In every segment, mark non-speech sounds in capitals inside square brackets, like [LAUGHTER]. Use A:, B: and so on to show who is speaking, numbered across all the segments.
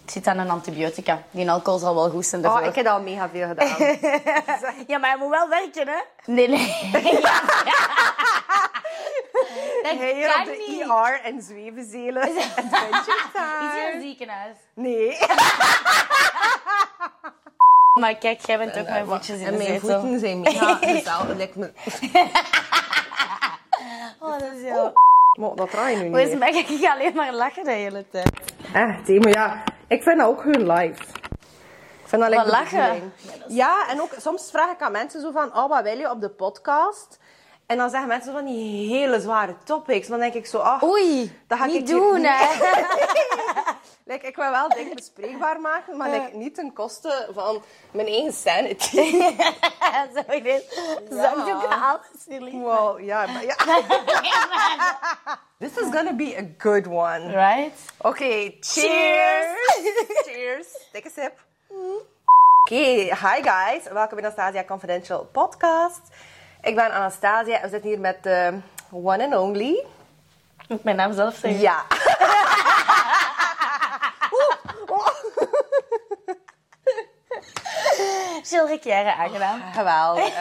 A: Het zit aan een antibiotica. Die alcohol zal wel goed zijn daarvoor.
B: Oh, ik heb al mega veel [LAUGHS] gedaan.
C: Ja, maar hij moet wel werken, hè?
A: Nee, nee. dat
B: Heel op
A: kan
B: de
A: niet.
B: IR en zwevenzelen.
A: [LAUGHS]
B: Adventure
A: Is hier een
B: time.
A: ziekenhuis?
B: Nee.
A: Maar kijk, jij bent ook mijn voetjes in
B: Eh, En
A: de
B: mijn
A: zetel.
B: voeten zijn
A: [LAUGHS]
B: mega gezaal. Lijkt me...
A: Oh, dat is heel...
B: Maar dat draai je nu
A: Hoe is
B: niet.
A: het
B: hè.
A: met- Ik ga alleen maar lachen de hele tijd.
B: Echt, hé, maar ja. Ik vind dat ook hun live. Ik vind dat like
A: Wat lachen.
B: Ja, en ook soms vraag ik aan mensen zo van... Oh, wat wil je op de podcast? En dan zeggen mensen zo van die hele zware topics. Dan denk ik zo... Ach,
A: Oei,
B: dat ga
A: niet
B: ik hier
A: doen,
B: niet-
A: hè.
B: Like, ik wil wel dingen bespreekbaar maken,
A: [LAUGHS]
B: maar like, niet ten koste van mijn eigen
A: [LAUGHS]
B: sanity.
A: [LAUGHS] Zo ineens zakdoek halen, silly.
B: Wow, ja, maar ja. This is gonna be a good one.
A: [LAUGHS] Right?
B: Oké, cheers! [LAUGHS] cheers! Take a sip. Oké, hi guys. Welkom bij Anastasia Confidential Podcast. Ik ben Anastasia en we zitten hier met de one and only.
A: Moet ik mijn naam zelf zeggen?
B: Ja. [LAUGHS]
A: Jill Riquière,
B: Oh,
A: aangenaam.
B: [LAUGHS] Geweldig.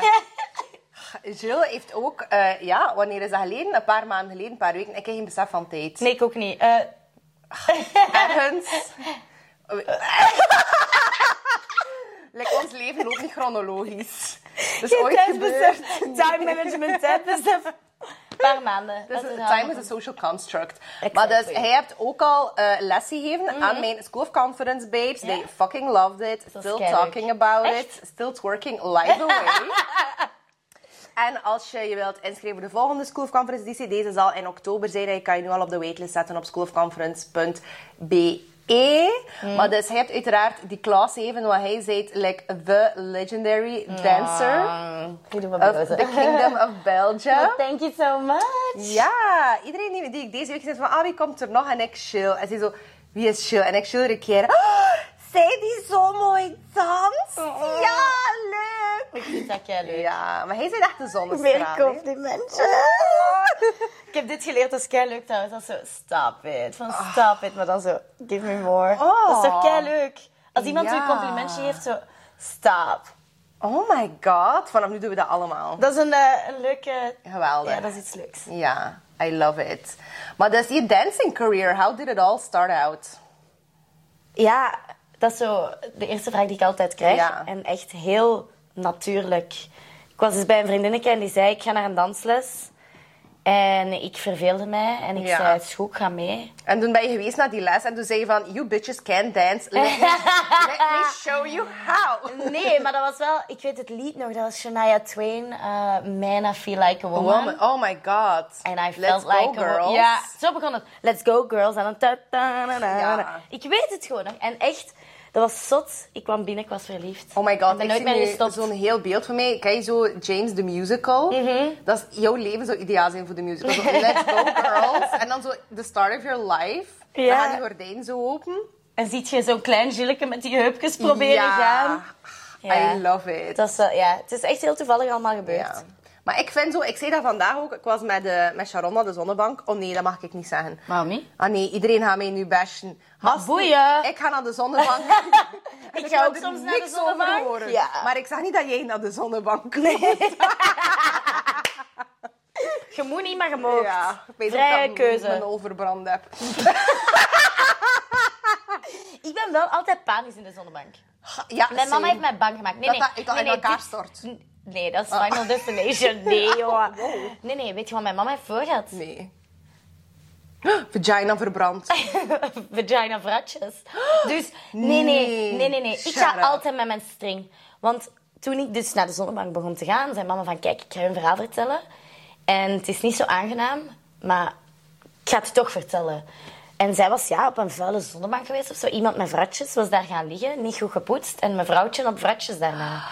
B: Jill heeft ook, eh, ja, wanneer is dat geleden? Een paar maanden geleden, een paar weken. Ik heb geen besef van tijd.
A: Nee, ik ook niet. Eh,
B: Ergens. like, ons leven loopt niet chronologisch. Dus
A: geen
B: ooit
A: tijdbesef.
B: gebeurt.
A: Time management, [LAUGHS] tijdbesef. Een paar maanden.
B: Dus
A: Dat is
B: time is
A: handig.
B: a social construct. Maar dus,
A: Exactly. Mhm.
B: hij hebt ook al eh, les gegeven aan mijn School of Conference babes. They fucking loved it.
A: was
B: Still
A: keileuk.
B: talking about
A: Echt?
B: it. Still twerking live
A: [LAUGHS]
B: away. En als je je wilt inschrijven voor de volgende School of Conference editie, deze zal in oktober zijn. En je kan je nu al op de waitlist zetten op schoolofconference.be.
A: Mhm.
B: Maar dus, hij hebt uiteraard die klas even, want hij zei, like, the legendary dancer
A: Hier
B: of the kingdom
A: [LAUGHS]
B: of Belgium.
A: Oh, Thank you so much.
B: Ja, iedereen die, die ik deze week zegt van, ah, wie komt er nog? En ik chill. En ze zo, wie is chill? En ik chill er een keer. "Ah, zij die zo mooi danst? Ja, leuk!
A: Oh. Ik vind dat jij leuk.
B: Ja, maar hij is echt de
C: Weer
B: zonnestraal. hè?
C: complimenten.
A: Ik heb dit geleerd als kei leuk trouwens. Dat is zo, stop it. Van stop it, maar dan zo, give me more.
B: [LAUGHS] Oh.
A: Dat is toch kei leuk. Als iemand
B: Ja.
A: u een complimentje geeft, zo, stop.
B: Oh my god, vanaf nu doen we dat allemaal.
A: Dat is een, eh, een leuke...
B: Geweldig.
A: Ja, dat is iets leuks.
B: Ja, I love it. Maar dus je dancing career, how did it all start out?
A: Ja, dat is zo de eerste vraag die ik altijd krijg.
B: Ja.
A: En echt heel natuurlijk. Ik was dus bij een vriendinnetje en die zei, ik ga naar een dansles. En ik verveelde mij en ik
B: Ja.
A: zei, het is goed, ik ga mee.
B: En toen ben je geweest naar die les en toen zei je van, you bitches can dance,
A: [LAUGHS]
B: let me, let me show you how.
A: Nee, maar dat was wel... Ik weet het lied nog, dat was Shania Twain, eh Man I Feel Like a Woman.
B: Woman. Oh my god.
A: And I
B: Let's
A: felt
B: go,
A: like a wo-
B: girls.
A: Ja, zo begon het. Let's go girls. En dan ta ta na na na.
B: Ja.
A: Ik weet het gewoon nog. En echt, dat was zot. Ik kwam binnen, ik was verliefd.
B: Oh my
A: Ik
B: god,
A: ben
B: ik,
A: nooit meer
B: zie nu
A: gestopt.
B: zo'n heel beeld van mij. Kijk je zo James the Musical?
A: Mhm.
B: Dat is, jouw leven zou ideaal zijn voor de musical. Zo, let's
A: [LAUGHS]
B: go girls. En dan zo the start of your life. Dan
A: Ja.
B: gaat die gordijn zo open.
A: En ziet je zo'n klein Jilleke met die heupjes proberen gaan. Ja.
B: I love it.
A: Dat is wel, ja, het is echt heel toevallig allemaal gebeurd.
B: Ja. Maar ik vind zo, ik zei dat vandaag ook. Ik was met, eh, met Sharon naar de zonnebank. Oh nee, dat mag ik niet zeggen.
A: Waarom niet?
B: Ah nee, iedereen gaat mij nu bashen. Gasten,
A: boeien.
B: Ik ga naar de
A: [LAUGHS]
B: zonnebank. En
A: Ik ga ook
B: wil er
A: soms naar de
B: niks over
A: zonnebank.
B: horen.
A: Ja.
B: Maar ik zag niet dat jij naar de zonnebank [LAUGHS]
A: Je moet niet, maar je mag.
B: Ja, ik weet
A: Vrije
B: ook dat ik
A: keuze.
B: mijn overbrand heb.
A: Ik ben wel altijd panisch in de zonnebank.
B: Ja,
A: Mijn mama heeft mij bang gemaakt. Nee,
B: Dat
A: nee.
B: dat- ik dat
A: nee,
B: in
A: nee,
B: elkaar
A: dit-
B: stort. Oh.
A: N- Nee, dat is Final
B: [LAUGHS]
A: Destination. Nee, joh. Nee, nee, weet je wat mijn mama heeft voorgehad?
B: Nee. [GASPS] Vagina verbrand.
A: vagina vratjes. [LAUGHS] Dus nee, nee, nee, nee, nee. Ik
B: Shut
A: ga
B: up.
A: altijd met mijn string. Want toen ik dus naar de zonnebank begon te gaan, zei mama van, kijk, ik ga je een verhaal vertellen. En het is niet zo aangenaam, maar ik ga het toch vertellen. En zij was ja, op een vuile zonnebank geweest of zo. Iemand met vratjes was daar gaan liggen, niet goed gepoetst. En mijn vrouwtje op vratjes daarna.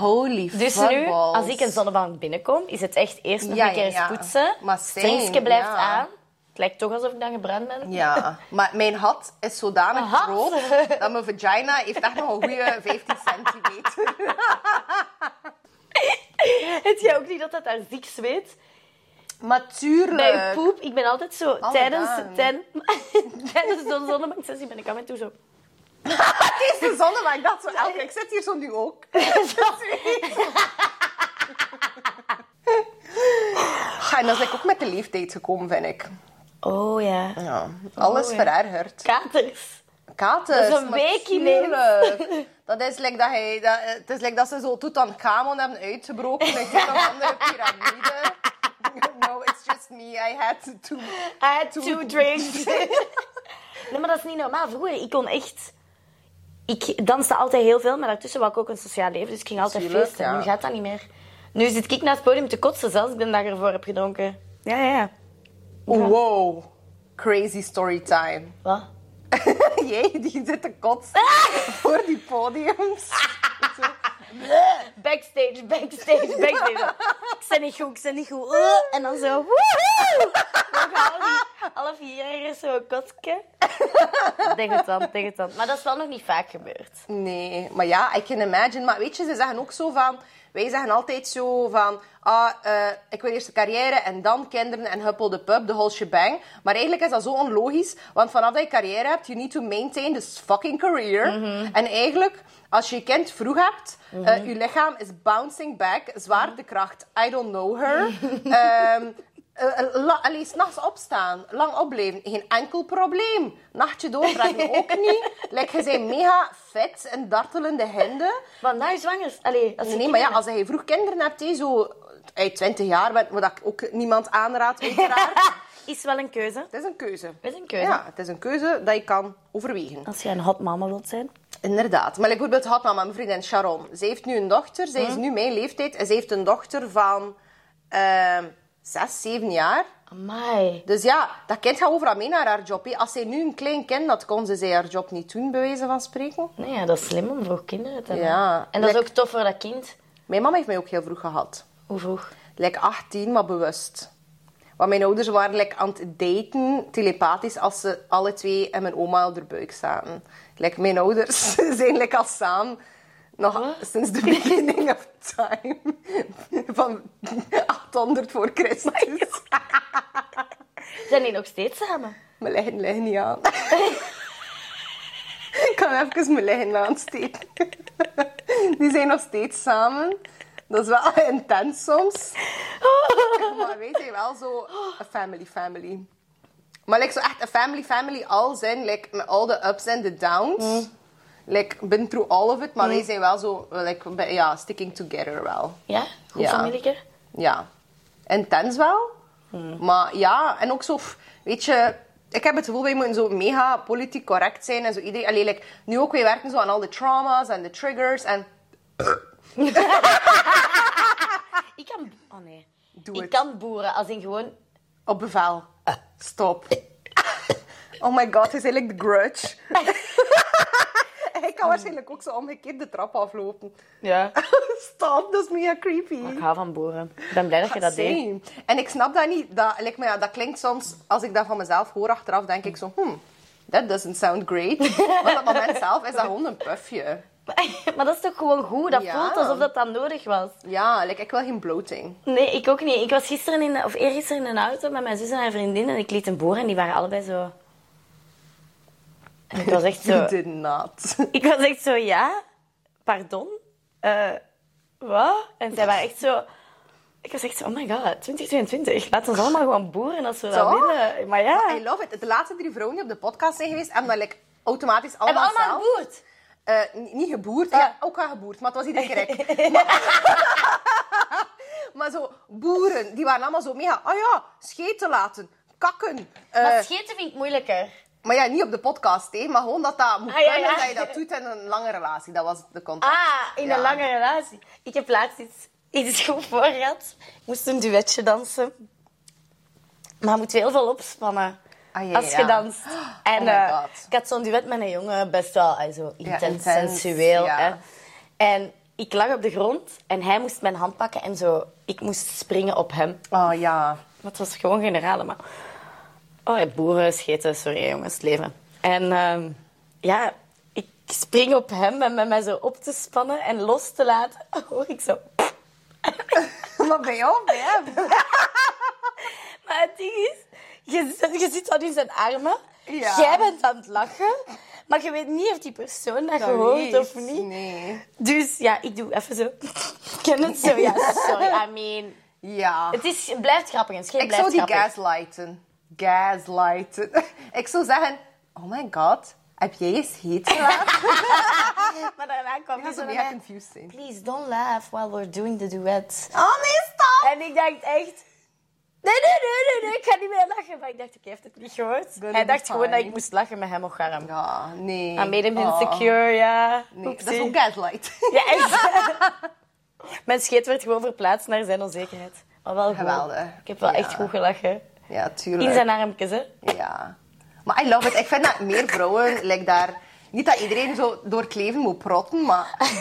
B: Holy
A: Dus nu, als ik een zonnebank binnenkom, is het echt eerst nog
B: Ja,
A: een keer
B: ja,
A: eens
B: ja.
A: poetsen.
B: Maar same,
A: Stringske blijft
B: ja.
A: aan. Het lijkt toch alsof ik dan gebrand ben. [LAUGHS]
B: Ja, maar mijn hat is zodanig
A: Een hat?
B: groot dat mijn vagina heeft echt nog een goede 15
A: [LAUGHS]
B: centimeter.
A: Weet jij ook niet dat dat daar ziek zweet?
B: Maar tuurlijk.
A: Bij uw poep, ik ben altijd zo
B: Alle
A: tijdens,
B: dagen.
A: tijn- [LAUGHS] tijdens zo'n zonnebanksessie ben ik af en toe zo.
B: Het is de zon, maar ik dacht zo elke... Ik zit hier zo nu [LAUGHS] ook. Ja, en dat is ik ook met de leeftijd gekomen, vind ik.
A: Oh ja.
B: Ja, alles
A: Oh, ja.
B: verergerd.
A: Katers.
B: Katers.
A: Dat is een
B: maar
A: week ineens.
B: tuurlijk. Dat is like dat hij... Dat, eh, het is like dat ze zo Tutankhamon hebben uitgebroken. Ik denk een andere piramide. [LAUGHS] No, it's just me. I had to...
A: I had two drinks. [LAUGHS] nee, maar dat is niet normaal. Vroeger, ik kon echt... Ik danste altijd heel veel, maar daartussen wou ik ook een sociaal leven. Dus ik ging altijd
B: Tuurlijk,
A: feesten.
B: ja.
A: Nu gaat dat niet meer. Nu zit ik naast het podium te kotsen, zelfs ik de dag ervoor heb gedronken. Ja, ja, ja.
B: Oh, Wow. Crazy story time. [LAUGHS]
A: Wat?
B: Jee, die zit te
A: [LAUGHS]
B: kotsen voor die podiums.
A: Backstage, backstage, backstage. [LAUGHS] ik ben niet goed, ik ben niet goed. Uh, [LAUGHS] en dan zo, woehoe! Nog half, half hier is zo'n kotje. [LAUGHS] Denk het dan, denk het dan. Maar dat is wel nog niet vaak gebeurd.
B: Nee, maar ja, I can imagine. Maar weet je, ze zeggen ook zo van... Wij zeggen altijd zo van... Ah, eh, ik wil eerst een carrière en dan kinderen en huppel de pub, de whole shebang. Maar eigenlijk is dat zo onlogisch. Want vanaf dat je carrière hebt, you need to maintain this fucking career.
A: Mhm.
B: En eigenlijk, als je je kind vroeg hebt... eh, je lichaam is bouncing back, zwaartekracht, I don't know
A: [LAUGHS]
B: her. Ehm eh, eh, la- Allee, s'nachts opstaan, lang opblijven, geen enkel probleem. Nachtje doorbrengen ook niet. Like, je zijn mega fit en dartelende hinde.
A: Want na je zwangers, allee, als je
B: Nee, maar ja,
A: kinderen-
B: als je vroeg kinderen hebt, hé, zo uit 20 jaar, wat wat ik ook niemand aanraad, uiteraard.
A: is wel een keuze.
B: het is een keuze.
A: Het is een keuze.
B: Ja, het is een keuze dat je kan overwegen.
A: Als je een hot mama wilt zijn.
B: Inderdaad. Maar like, bijvoorbeeld had mama, mijn vriendin Sharon. Ze heeft nu een dochter. Zij is nu mijn leeftijd. En ze heeft een dochter van ehm 6, 7 jaar.
A: Amai.
B: Dus ja, dat kind gaat overal mee naar haar job. hè. Als zij nu een klein kind had, kon ze zij haar job niet doen, bij wijze van spreken.
A: Nee, ja, dat is slim om vroeg kinderen te hebben.
B: Ja.
A: En dat is
B: Lek-
A: ook tof voor dat kind.
B: Mijn mama heeft mij ook heel vroeg gehad.
A: Hoe vroeg?
B: Like 18, maar bewust. Want mijn ouders waren like, aan het daten, telepathisch, als ze alle twee en mijn oma op de buik zaten. Like, mijn ouders [LAUGHS] zijn like, al samen, nog sinds the beginning of time, van 800 voor Christus.
A: Zijn die nog steeds samen?
B: Mijn liggen liggen niet aan. Ik kan even mijn liggen aansteken. Die zijn nog steeds samen. Dat is wel intens soms. Maar wij zijn wel zo een family family. Maar like, zo echt een family family al zijn. Like, met all the ups en the downs. Like, been through all of it. Maar wij zijn wel zo, like, bij- ja, sticking together wel.
A: Ja? Goed
B: Ja.
A: familieke?
B: Ja. Intens wel. Maar ja, en ook zo... pff, Weet je, ik heb het gevoel, wij moeten zo mega politiek correct zijn. En zo iedereen... Allee, like, nu ook, wij werken zo aan al de trauma's en de triggers. En
A: Ik kan... Oh nee.
B: Doe
A: ik
B: het.
A: kan boeren, als in gewoon...
B: op bevel. Stop. [LAUGHS] Oh my god, hij is eigenlijk de grudge. [LAUGHS] Hij kan waarschijnlijk ook zo omgekeerd de trap aflopen. [LAUGHS]
A: Ja.
B: Stop, dat is mega creepy.
A: Ik hou van boeren. Ik ben blij dat je dat deed.
B: Ah, Same. En ik snap dat niet. Dat, like, maar ja, dat klinkt soms, als ik dat van mezelf hoor achteraf, denk ik zo... Hmm, that doesn't sound
A: [LAUGHS]
B: great. Maar op dat moment zelf is dat gewoon een puffje.
A: [LAUGHS] Maar dat is toch gewoon goed? Dat
B: Ja.
A: voelt alsof dat dan nodig was.
B: Ja, like, ik wil geen bloating.
A: Nee, ik ook niet. Ik was gisteren in, de- of eergisteren in een auto met mijn zus en haar vriendin en ik liet een boer en die waren allebei zo... En ik was echt zo...
B: [LAUGHS] You did not.
A: Ik was echt zo, ja, pardon, Eh, wat? En zij waren echt zo... Ik was echt zo, oh my god, 2022, laat ons allemaal gewoon boeren als we dat
B: Toch?
A: willen. Maar ja,
B: I love it. De laatste drie vrouwen die op de podcast zijn geweest, hebben dat like, automatisch
A: hebben
B: allemaal
A: we allemaal
B: zelf...
A: geboerd.
B: Eh, ni- niet geboerd. Ja, ook wel geboerd, maar het was iedere keer
A: [LAUGHS]
B: ik. Maar, [LAUGHS] maar zo, boeren, die waren allemaal zo mega... Ah ja, scheten laten, kakken. eh,
A: Maar scheten vind ik moeilijker.
B: Maar ja, niet op de podcast, hè, maar gewoon dat dat moet
A: Ah, ja,
B: kunnen
A: ja.
B: dat je dat doet in een lange relatie. Dat was de context.
A: Ah, in
B: Ja.
A: een lange relatie. Ik heb laatst iets, iets goed voor gehad. Ik moest een duetje dansen. Maar je moet heel veel opspannen
B: Ah, ja,
A: als je
B: ja. Oh
A: danst. En
B: my
A: eh,
B: God.
A: ik had zo'n duet met een jongen, best wel eh, zo intens,
B: intens,
A: sensueel.
B: ja.
A: Hè. En ik lag op de grond en hij moest mijn hand pakken en zo. Ik moest springen op hem.
B: Oh
A: [LAUGHS]
B: ja.
A: Dat was gewoon generale, maar... Oh, ja, boeren, scheten, sorry jongens, het leven. En ehm, ja, ik spring op hem en met mij zo op te spannen en los te [LAUGHS] Oh, laten, hoor ik zo...
B: Maar bij jou, bij hem.
A: Maar het ding is, je, zit- je zit dan in zijn armen.
B: Ja.
A: Jij bent aan het lachen. Maar je weet niet of die persoon dat, gehoord
B: weet.
A: of niet.
B: Nee.
A: Dus ja, ik doe even zo. [LAUGHS] Ik ken het zo. Ja, sorry. I mean...
B: Ja.
A: Het, is, het blijft grappig. Het schijn
B: Ik zou
A: blijft
B: die
A: grappig.
B: gaslighten. Gaslighten. [LAUGHS] Ik zou zeggen, oh my god, heb jij eens
A: [LAUGHS]
B: heet gelaten?
A: Maar daarna kwam
B: Ik
A: hij zo
B: zou
A: naar
B: mega
A: mij.
B: confused zijn.
A: Please, don't laugh while we're doing the duet.
B: Oh nee, stop!
A: En ik dacht echt... Nee, nee, nee, nee, nee, ik ga niet meer lachen. Maar ik dacht, oké, hij heeft het niet gehoord.
B: Gonna
A: hij
B: be
A: dacht gewoon dat
B: fine.
A: ik moest lachen met hem op garm.
B: Ja, nee.
A: I made him
B: Oh,
A: insecure, ja.
B: Nee, dat is
A: Oepsie.
B: ook gaslight.
A: Ja, echt. Mijn scheet werd gewoon verplaatst naar zijn onzekerheid. Maar wel goed.
B: Geweldig.
A: Ik heb wel
B: Ja.
A: echt goed gelachen.
B: [LAUGHS] Ja,
A: In
B: tuurlijk.
A: zijn armpjes, hè.
B: Ja. Maar I love it. Ik vind dat meer vrouwen like daar... Niet dat iedereen zo door kleven moet protten, maar... [LAUGHS]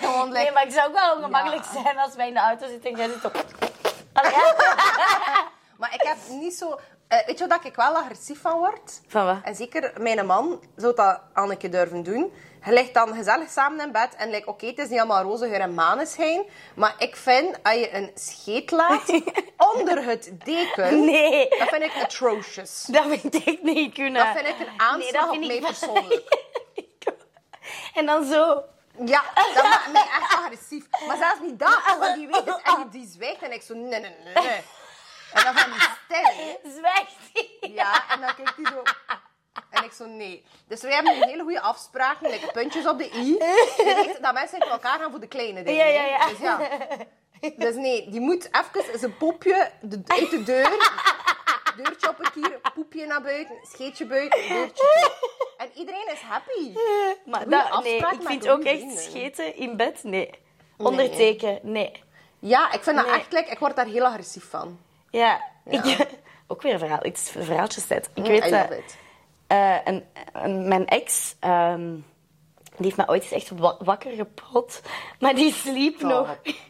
B: gewoon like...
A: Nee, maar ik zou ook wel ongemakkelijk zijn als wij in de auto zitten en jij zit op... Allee, ja.
B: Maar ik heb niet zo... eh, weet je wat ik wel agressief van word?
A: Van wat?
B: En zeker mijn man zou dat Anneke durven doen. Hij ligt dan gezellig samen in bed en like, oké, het is niet allemaal roze geur en maneschijn. Maar ik vind, als je een scheet
A: [LAUGHS]
B: laat onder het deken...
A: Nee,
B: Dat vind ik atrocious.
A: dat vind ik niet kunnen.
B: Dat vind ik een aanslag op mij persoonlijk.
A: [LAUGHS] En dan zo...
B: Ja, dat maakt mij echt agressief. Maar zelfs niet dat, want die weet het en die- die zwijgt en ik zo, nee, nee, nee, nee. En dan van die stil.
A: Zwijgt hij.
B: Ja, en dan kijkt hij zo. En ik zo, nee. Dus wij hebben een hele goede afspraak, like puntjes op de i. Je weet dat mensen voor elkaar gaan voor de kleine dingen.
A: Ja, ja,
B: hè?
A: ja.
B: Dus ja. Dus nee, die moet even zijn popje de, uit de deur. Deurtje op een kier, poepje naar buiten, scheetje buiten, deurtje toe. En iedereen is happy.
A: [LAUGHS] Maar
B: Goeie
A: dat, nee,
B: afspraak
A: ik
B: maken,
A: vind ook
B: goeie
A: echt
B: vrienden.
A: scheten in bed, nee. Onderteken, nee.
B: Ja, ik vind dat
A: Nee.
B: echt, like, ik word daar heel agressief van.
A: Ja, Ik, [LAUGHS] ook weer een verhaal. Het is verhaaltjestijd. Ik
B: I
A: weet
B: love
A: dat...
B: it.
A: eh, een, een- mijn ex, ehm, die heeft mij ooit eens echt wa- wakker gepot. Maar die sliep
B: Oh.
A: nog. [LAUGHS]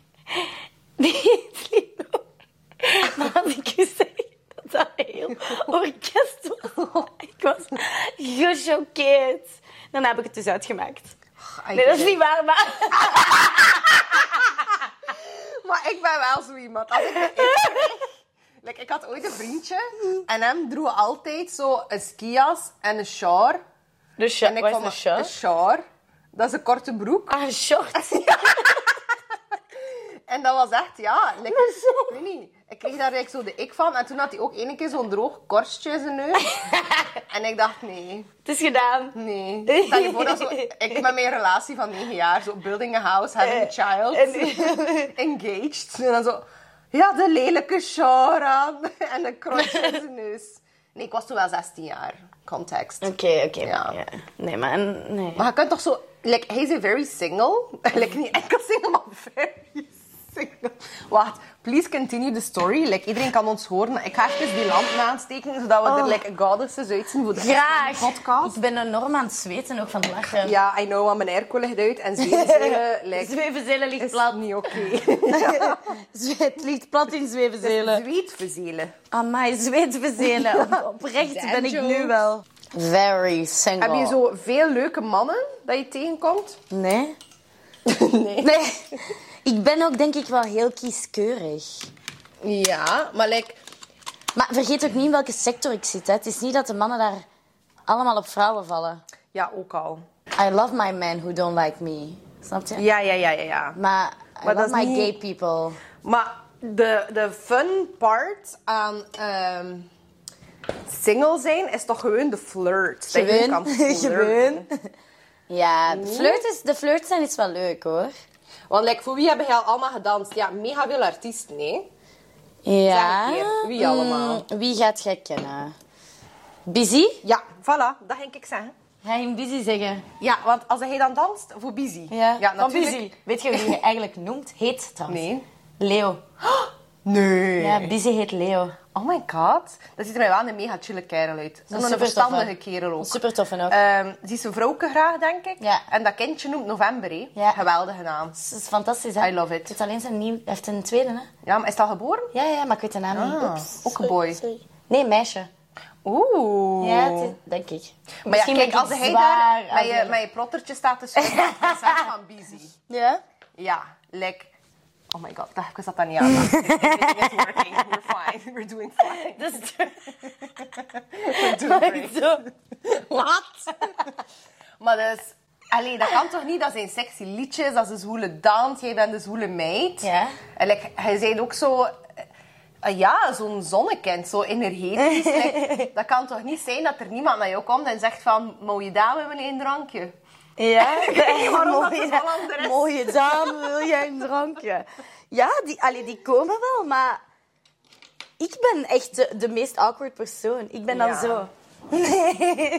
A: Die sliep nog. Maar had ik gezegd dat dat heel orkest
B: [LAUGHS]
A: was. Ik was gechoqueerd. Daarna heb ik het dus uitgemaakt.
B: I
A: Nee, dat
B: get
A: is
B: it.
A: niet waar, maar...
B: Maar ik ben wel zo iemand. Als ik een eet krijg- like, ik had ooit een vriendje en hem droeg altijd zo een skias en een shawl.
A: De
B: En
A: short,
B: ik
A: wat is
B: vond
A: een
B: dat-
A: short?
B: Een shawl. Dat is een korte broek.
A: dus- Ah, een short.
B: En dat was echt, ja. Like, ik weet niet. Ik kreeg daar like, zo de ik van. En toen had hij ook ene keer zo'n droog korstje in zijn neus.
A: [LAUGHS]
B: en ik dacht, nee,
A: Het is gedaan.
B: nee. Stel je voor dat zo,
A: [LAUGHS]
B: ik met mijn relatie van 9 jaar, zo building a house, having a child.
A: Eh, En-
B: [LAUGHS] engaged. En dan zo, ja, de lelijke shawl aan. [LAUGHS] En een krosje in zijn neus. Nee, ik was toen wel 16 jaar. Context.
A: Oké, oké.
B: Ja.
A: maar ja. Nee, maar... een- Nee.
B: Maar je kunt toch zo... Like, hij is very single. [LAUGHS] Like, niet enkel single, maar very single. Wacht, please continue the story. Like, iedereen kan ons horen. maar Ik ga even die lamp aansteken, zodat we er like, goddesses uitzien voor de rest van de
A: Oh. Graag.
B: podcast.
A: Ik ben enorm aan het zweten, ook van het lachen. [LAUGHS]
B: Ja, I know, want mijn airco ligt uit en [LAUGHS] zwevenzelen like,
A: Zwevenzelen ligt
B: is
A: plat. [LAUGHS]
B: niet oké. [LAUGHS]
A: Het ligt plat in zweevenzelen.
B: Zweet verzelen.
A: Amai, [LAUGHS] zweetverzelen. Op- Oprecht ben ik nu wel. Very single.
B: Heb je zo veel leuke mannen dat je tegenkomt? [LAUGHS]
A: Nee.
B: Nee.
A: Nee. Ik ben ook denk ik wel heel kieskeurig.
B: Ja, maar like,
A: Maar vergeet ook niet in welke sector ik zit. Hè. Het is niet dat de mannen daar allemaal op vrouwen vallen.
B: ja, ook al.
A: I love my men who don't like me. Snap je?
B: Ja, ja, ja, ja, ja.
A: Maar I
B: Maar dat
A: love
B: is
A: my
B: niet-
A: gay people.
B: Maar de, de fun part aan ehm, single zijn is toch gewoon de flirt. Dat je
A: Gewoon. [LAUGHS]
B: [LAUGHS] kan flirten.
A: Gewoon. Ja, de flirt, is, de flirt zijn is wel leuk hoor.
B: Want like, voor wie hebben jij allemaal gedanst? Ja, mega veel artiesten, nee?
A: Ja.
B: Zeg een keer, wie allemaal?
A: Mm, wie gaat jij kennen? Busy?
B: Ja, voilà, dat ging ik zeggen.
A: Ga je hem busy zeggen?
B: Ja, want als hij dan danst, voor busy.
A: van busy. Weet je wie je eigenlijk noemt? Heet trouwens.
B: Nee.
A: Leo.
B: Nee.
A: Ja, busy heet Leo.
B: Oh my god. Dat ziet er mij wel een mega chille kerel uit.
A: Dat is
B: Zo'n
A: super
B: verstandige
A: toffe.
B: kerel ook.
A: Super toffe ook.
B: Ehm, die is een vrouwke graag, denk ik.
A: Ja.
B: En dat kindje noemt November, hè.
A: Ja.
B: Geweldige naam.
A: Dat is fantastisch, hè?
B: I love it.
A: Het is alleen zijn nieuw... Hij heeft een tweede, hè?
B: Ja, maar is dat geboren?
A: Ja, ja, maar ik weet de naam niet.
B: Ah,
A: Oeps.
B: ook een boy.
A: Sorry. Nee, meisje.
B: Oeh.
A: Ja, het is- denk ik.
B: Maar ja, kijk, als hij daar met je, met je plottertje staat te schudden, dat is echt van busy.
A: Ja?
B: Ja, like, Oh my god, ik was dat dan niet [LAUGHS] aan. Everything is working. We're fine. We're doing fine.
A: Dus
B: We're doing great.
A: zo. Wat?
B: Maar dus... Allee, dat kan toch niet? Dat zijn sexy liedjes, dat is een zwoele dans. Jij bent de zwoele meid.
A: Ja.
B: En like, hij zei ook zo... eh, eh, ja, zo'n zonnekind, zo [LAUGHS] energetisch. Like, dat kan toch niet zijn dat er niemand naar jou komt en zegt van... Mooie dame, wil je een drankje? [LAUGHS]
C: Ja,
B: waarom dat
C: mooie,
B: het Hollander is.
C: mooie dame, wil jij een drankje? Ja, die, allee, die komen wel, maar ik ben echt de, de meest awkward persoon. Ik ben dan
B: Ja.
C: zo. Nee, [LAUGHS] nee.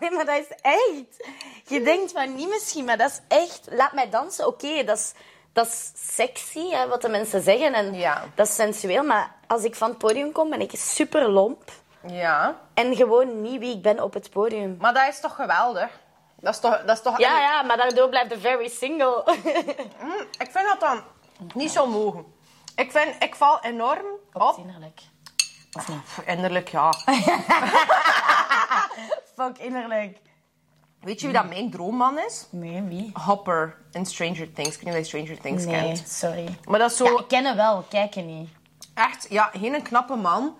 C: Nee, maar dat is echt. Je denkt van niet misschien, maar dat is echt. Laat mij dansen, oké, dat, is, dat is sexy, hè, wat de mensen zeggen. En
B: Ja.
C: dat is sensueel, maar als ik van het podium kom, ben ik super lomp.
B: Ja.
C: En gewoon niet wie ik ben op het podium.
B: Maar dat is toch geweldig? Dat is toch... Dat is toch
A: Ja, ja, maar daardoor blijft de very single.
B: Ik vind dat dan niet zo mogen. Ik vind... Ik val enorm op...
A: Innerlijk.
B: Pff, Innerlijk, [LAUGHS] ja.
A: Fuck, innerlijk.
B: Weet je wie dat mijn droomman is?
A: Nee, wie?
B: Hopper in Stranger Things. Ik weet niet of je Stranger Things
A: Nee,
B: kent.
A: sorry.
B: Maar dat is zo
A: Ja, ik ken hem wel, kijken niet.
B: echt, ja, geen een knappe man.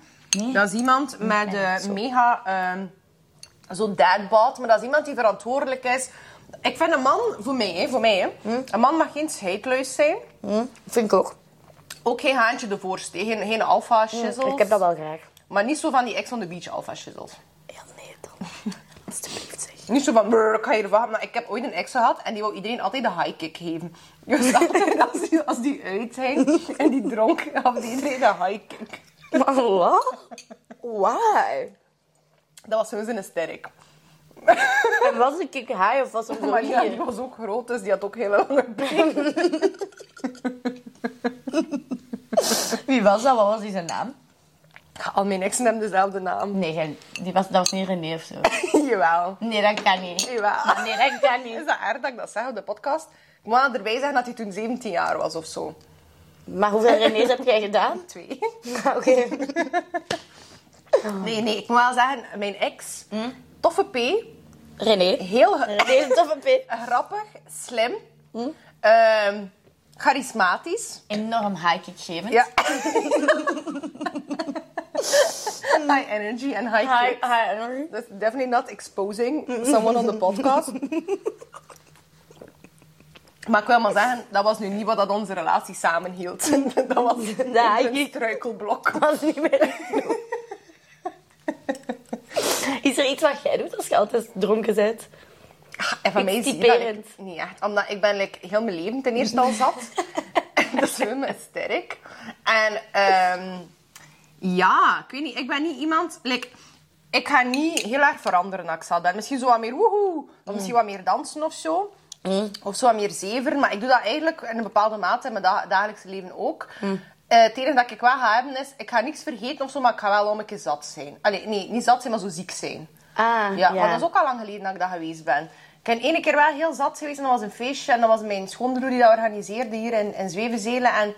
B: Dat is iemand met eh, mega, ehm, zo'n dadbot. Maar dat is iemand die verantwoordelijk is. Ik vind een man, voor mij, hè, voor mij hè, een man mag geen scheidluis zijn.
A: Vind ik ook.
B: Ook geen haantje de voorste, geen, geen alfa shizzles.
A: Ik heb dat wel graag.
B: Maar niet zo van die ex on the beach alfa shizzles.
A: Ja, nee dan. Alsjeblieft zeg.
B: Niet zo van, brrr, ik ga hier wachten. Maar ik heb ooit een ex gehad en die wou iedereen altijd de high kick geven. Dus [LAUGHS] altijd als die, als die uit zijn en die dronk, gaf die iedereen de high kick.
C: [LAUGHS] Maar wat? Why?
B: Dat was sowieso een sterk.
C: En was ik ik high of was het
A: Oh
C: zo
B: Maar ja,
C: hier?
B: die was ook groot, dus die had ook hele lange benen.
A: Wie was dat? Wat was die zijn naam?
B: Al mijn exen hebben dezelfde naam.
A: Nee, geen- die was, dat was niet René of zo.
B: jawel,
A: Nee, dat kan niet.
B: jawel.
A: Nee, dat kan niet.
B: Is dat erg dat ik dat zeg op de podcast? Ik moet erbij zeggen dat hij toen 17 jaar was of zo.
A: Maar hoeveel René's heb jij
B: [LAUGHS]
A: gedaan?
B: Twee.
A: Oké.
B: Nee, nee, ik moet wel zeggen, mijn ex, toffe P,
A: René.
B: heel ge-
A: René is een toffe pit.
B: grappig, slim, ehm, charismatisch.
A: Enorm high kick geven.
B: Ja. high energy en high,
A: High,
B: kicks.
A: high energy.
B: That's definitely not exposing someone on the podcast. Maar ik wil maar zeggen, dat was nu niet wat dat onze relatie samenhield. [LAUGHS] Dat was
A: Ja,
C: Nou,
B: een
A: ik-
B: struikelblok.
A: was niet meer. Is er iets wat jij doet als je altijd dronken bent?
B: En van mij is
A: Iets
B: dat
A: typerend.
B: ik- niet echt. Omdat ik ben like, heel mijn leven ten eerste al
A: [LAUGHS]
B: zat. [LAUGHS] dus hun is sterk. En ehm, ja, ik weet niet. Ik ben niet iemand... Like, ik ga niet heel erg veranderen als ik zat ben. Misschien zo wat meer woehoe. Of misschien wat meer dansen of zo.
A: Mm.
B: Of zo wat meer zever. Maar ik doe dat eigenlijk in een bepaalde mate in mijn da- dagelijkse leven ook.
A: Mm.
B: Eh, het enige dat ik wel ga hebben is... Ik ga niks vergeten of zo, maar ik ga wel om een keer zat zijn. Allee, nee, niet zat zijn, maar zo ziek zijn.
A: Ah,
B: Ja, maar dat is ook al lang geleden dat ik dat geweest ben. Ik ben ene keer wel heel zat geweest en dat was een feestje. En dat was mijn schoonbroer die dat organiseerde hier in, in Zwevenzelen. En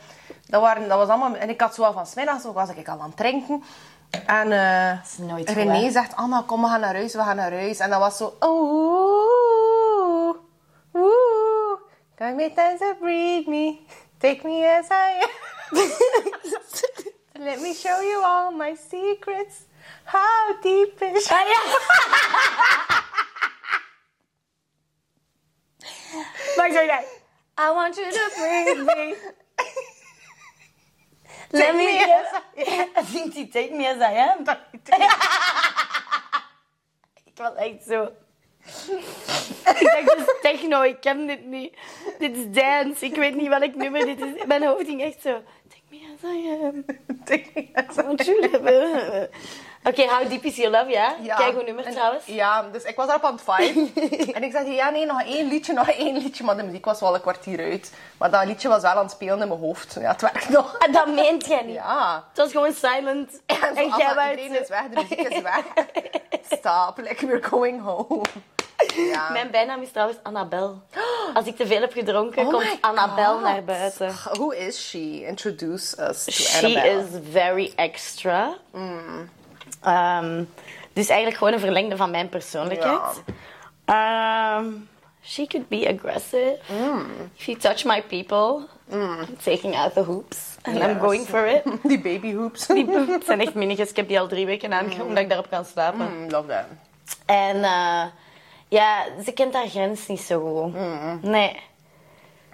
B: dat, waren, dat was allemaal... En ik had zo al van 's middags ook was ik al aan het drinken. En eh,
A: is nooit goed,
B: René
A: hè?
B: zegt, Anna, kom, we gaan naar huis, we gaan naar huis. En dat was zo... Oeh, oeh, come with us and breathe me. Take me as I
A: [LAUGHS]
B: am. Let me show you all my secrets. How deep is...
A: Ah, ja.
C: Maar zo jij. I want you to bring me. Let me
A: Ja, [LAUGHS] zingt hij Take Me As I Am?
C: [LAUGHS] Ik was echt zo. ik dacht, dit is techno, ik ken dit niet. Dit is dance, ik weet niet welk nummer dit is. Mijn hoofd ging echt zo. Take me as I am. I want you to be-
A: eh, Oké, How Deep Is Your Love, ja?
B: Ja.
A: Kijk hoe nummer
B: En-
A: trouwens.
B: Ja, dus ik was daarop aan het
A: [LAUGHS]
B: vibe. en ik zei, ja nee, nog één liedje, nog één liedje. Maar de muziek was wel een kwartier uit. Maar dat liedje was wel aan het spelen in mijn hoofd. Ja, het werkt nog. [LAUGHS]
A: Ah, dat meent jij niet.
B: Ja.
A: Het was gewoon silent.
B: En,
A: En jij
B: jij
A: wou
B: Iedereen is weg, de muziek is weg.
A: [LAUGHS]
B: Stop, like we're going home. Ja.
A: Mijn bijnaam is trouwens Annabel. Als ik te veel heb gedronken,
B: Oh my
A: komt Annabel
B: God.
A: naar buiten.
B: Who is she? Introduce us to
A: She
B: Annabelle.
A: is very extra.
B: Mm.
A: Ehm, dus eigenlijk gewoon een verlengde van mijn persoonlijkheid. Ehm, she could be aggressive.
B: Mm.
A: If you touch my people, I'm taking out the hoops and I'm
B: Yes.
A: going for it.
B: [LAUGHS] Die babyhoops.
A: [LAUGHS] Het zijn echt minigus. Ik heb die al drie weken aangehad omdat ik daarop kan slapen.
B: [LAUGHS] Mm, love that.
A: En eh, ja, ze kent haar grens niet zo goed.
B: Mm.
A: Nee.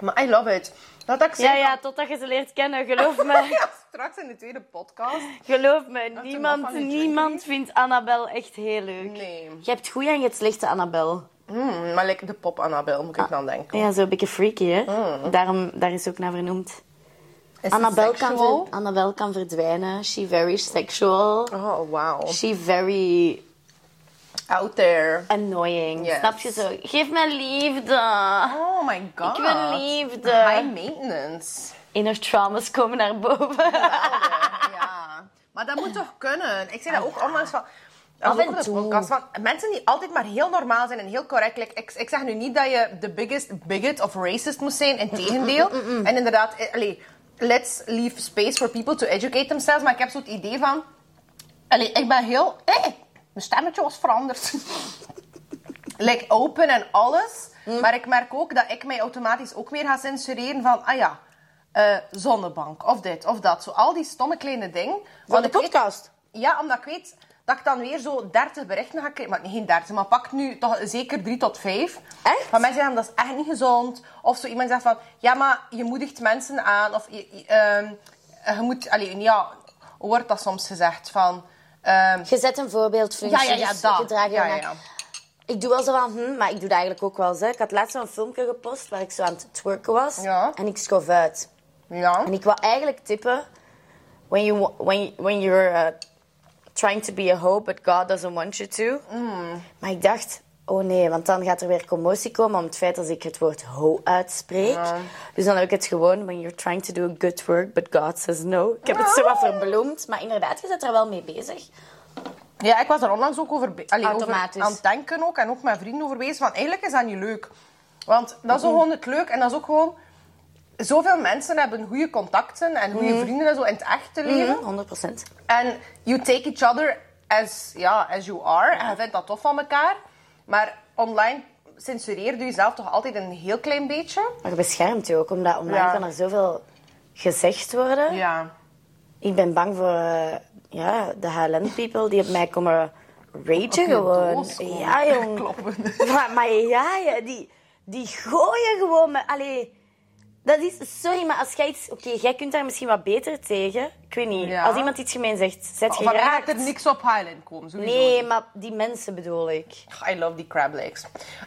B: Maar I love it. Dat had ik
A: Ja,
B: zei
A: ja,
B: van-
A: totdat je ze leert kennen, geloof me.
B: [LAUGHS]
A: [LAUGHS]
B: Ja, straks in de tweede podcast.
A: Geloof me,
B: man
A: niemand,
B: van die
A: niemand vindt Annabel echt heel leuk.
B: Nee.
A: Je hebt goede en je hebt slechte Annabel.
B: Mm, maar like de pop Annabel, moet
A: Ah.
B: ik dan denken.
A: Ja, zo een beetje freaky, hè? Daarom, daar is ze ook naar vernoemd.
B: Mm. Is ze
A: Annabel kan,
B: sexual?
A: ver- Annabel kan verdwijnen. She very sexual.
B: Oh, wow.
A: She very
B: Out there.
A: annoying.
B: Yes.
A: Snap je zo? Geef me liefde.
B: Oh my god.
A: Ik wil liefde.
B: Eh, High maintenance.
A: Inner traumas komen naar boven.
B: ja. Maar dat moet toch kunnen? Ik zei dat ook onlangs van... dat
A: Ah. Af
B: was ook
A: en
B: op de
A: toe.
B: podcast van mensen die altijd maar heel normaal zijn en heel correct. Like, ik, ik zeg nu niet dat je de biggest bigot of racist moest zijn, in tegendeel. En inderdaad, eh, allee, let's leave space for people to educate themselves. Maar ik heb zo het idee van... Allee, ik ben heel... eh, mijn stemmetje was veranderd. [LAUGHS] like, open en alles. Maar ik merk ook dat ik mij automatisch ook weer ga censureren van... Ah ja, eh, zonnebank of dit of dat. Zo al die stomme kleine dingen. Want ik weet- ja, omdat ik weet dat ik dan weer zo 30 berichten ga krijgen. Maar nee, geen 30, maar pak nu toch zeker 3 tot 5.
A: Echt?
B: Van mensen zeggen dat is echt niet gezond. Of zo iemand zegt van ja, maar je moedigt mensen aan. Of je, je, ehm, je moet, alleen ja, hoe wordt dat soms gezegd? Van ehm,
A: Je zet een voorbeeldfunctie.
B: ja, ja, ja,
A: dus
B: dat.
A: je draagt
B: ja,
A: je
B: ja,
A: naar-
B: ja.
A: Ik doe wel zo van, hm, maar ik doe dat eigenlijk ook wel. Hè. Ik had laatst zo'n filmpje gepost waar ik zo aan het twerken was.
B: Ja.
A: En ik schoof uit.
B: Ja.
A: En ik wil eigenlijk tippen... When, you, wa- when, when you're uh, trying to be a hoe, but God doesn't want you to.
B: Mm.
A: Maar ik dacht, oh nee, want dan gaat er weer commotie komen om het feit dat ik het woord hoe uitspreek. Dus dan heb ik het gewoon, when you're trying to do a good work, but God says no. Ik heb het zo wat verbloemd, maar inderdaad, je bent er wel mee bezig.
B: Ja, ik was er onlangs ook over, be- allee, over
A: Automatisch.
B: aan het denken ook, en ook met vrienden over bezig. Van, eigenlijk is dat niet leuk. Want dat is ook gewoon het leuk. En dat is ook gewoon... Zoveel mensen hebben goede contacten en goede
A: Mm-hmm.
B: vrienden en zo in het echte leven.
A: Mhm, 100%.
B: En you take each other as, ja, as you are. En je vindt dat tof van elkaar. Maar online censureer je jezelf toch altijd een heel klein beetje.
A: Maar je beschermt je ook, omdat online
B: Ja.
A: kan er zoveel gezegd worden.
B: Ja.
A: Ik ben bang voor eh, ja, de HLN-people die op mij komen ragen gewoon. Ja,
B: [LAUGHS]
A: jong.
B: Kloppen.
A: Maar, maar ja, ja, die, die gooien gewoon met... Allee, dat is... Sorry, maar als jij iets... Oké, jij kunt daar misschien wat beter tegen. Ik weet niet.
B: Ja.
A: Als iemand iets gemeen zegt, zet je
B: Oh, Van mij gaat
A: geraakt.
B: er niks op Highland komen. Sowieso.
A: Nee, maar die mensen bedoel ik.
B: Ach, I love die crab legs.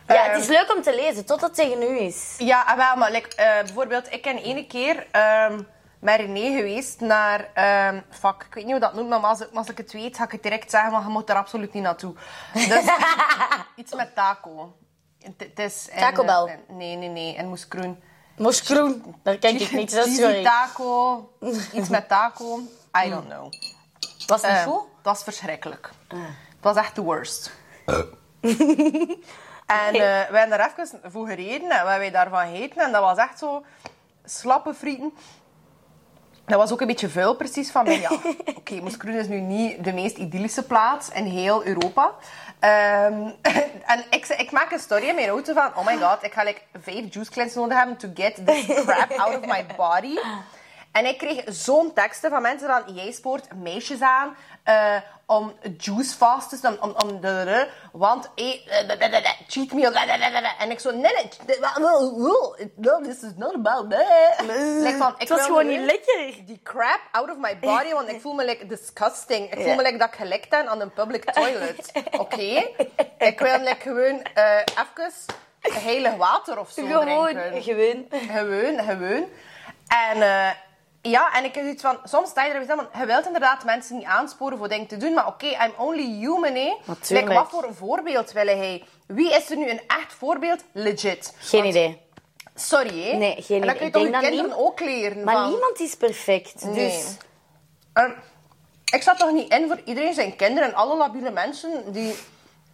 A: Ja,
B: Ehm,
A: het is leuk om te lezen, tot dat tegen u is.
B: Ja, ah, wel, maar like, eh, bijvoorbeeld, ik ken ene keer ehm met René geweest naar... ehm fuck, ik weet niet hoe dat noemt, maar als, ik- als ik het weet, ga ik het direct zeggen, maar je moet daar absoluut niet naartoe. Dus, [LAUGHS] iets met taco. Het- Het is in,
A: Taco Bell.
B: eh, in- nee, nee, nee, en Moeskroen.
A: Moskroen, daar kijk ik niet. Dat is
B: Cheesy
A: sorry.
B: taco, iets met taco, I don't know.
A: Was het
B: Eh,
A: goed?
B: dat is verschrikkelijk. Dat is echt de worst. [LAUGHS] en eh, we hebben daar even voor gereden en wat wij daarvan heten. En dat was echt zo slappe frieten. Dat was ook een beetje vuil precies van
A: [LAUGHS]
B: mij. Ja, oké, Moeskroen is nu niet de meest idyllische plaats in heel Europa. Ehm, [LAUGHS] en ik, zei- ik maak een story in mijn auto van... Oh my god, ik ga like, vijf juice cleanse nodig hebben to get this crap out of my body. En ik kreeg zo'n teksten van mensen van... Jij spoort meisjes aan eh, om juice fast te doen, om, om, om de- de- want eh, eh, de- de- de- de- cheat meal. de- de- de- de- de. En ik zo... Nee, nee, dit- wa- wa- wa- no, this is not about that. Like van, ik
A: Het was
B: wil
A: gewoon
B: nu-
A: niet lekker.
B: die crap out of my body, want ik voel me like disgusting. Ik voel me like dat ik gelekt ben aan een public
A: [LAUGHS]
B: toilet. Oké? Ik wil like gewoon eh even heilig water of zo
A: Gewoon,
B: drinken.
A: gewoon.
B: Gewoon, gewoon. En eh, ja, en ik heb zoiets van, soms sta je er weer van, je wilt inderdaad mensen niet aansporen voor dingen te doen, maar oké, I'm only human, hè.
A: Natuurlijk.
B: Like, wat voor een voorbeeld willen hij? Wie is er nu een echt voorbeeld? Legit.
A: Geen
B: Want-
A: idee.
B: Sorry, hè.
A: Nee, geen
B: En dan kun
A: idee.
B: je toch je
A: Ik denk dat
B: kinderen
A: niem-
B: ook leren
A: Maar
B: van...
A: niemand is perfect. Dus
B: Er- ehm, ik zat toch niet in voor iedereen zijn kinderen en alle labiele mensen die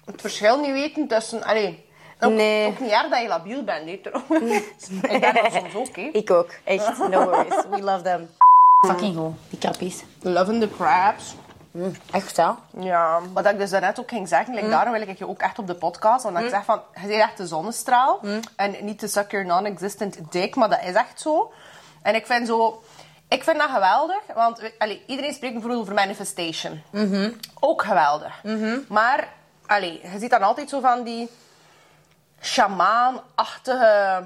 B: het verschil niet weten tussen. Allee, ook,
A: Nee.
B: ook niet erg dat je labiel bent,
A: [LAUGHS]
B: nee, trouwens. Ik ben dat soms ook, hè.
A: ik ook. [LAUGHS] Echt, no worries. We love them. Fucking goed, die kappies.
B: Loving the crabs.
A: Echt, ja.
B: Ja, wat ik dus daarnet ook ging zeggen, like, daarom wil ik je ook echt op de podcast. Want ik zeg van, je bent echt de zonnestraal. En niet de suck your non-existent dick, maar dat is echt zo. En ik vind zo... Ik vind dat geweldig, want we- allee, iedereen spreekt bijvoorbeeld over manifestation. Ook geweldig. Maar, allee, je ziet dan altijd zo van die shamaan-achtige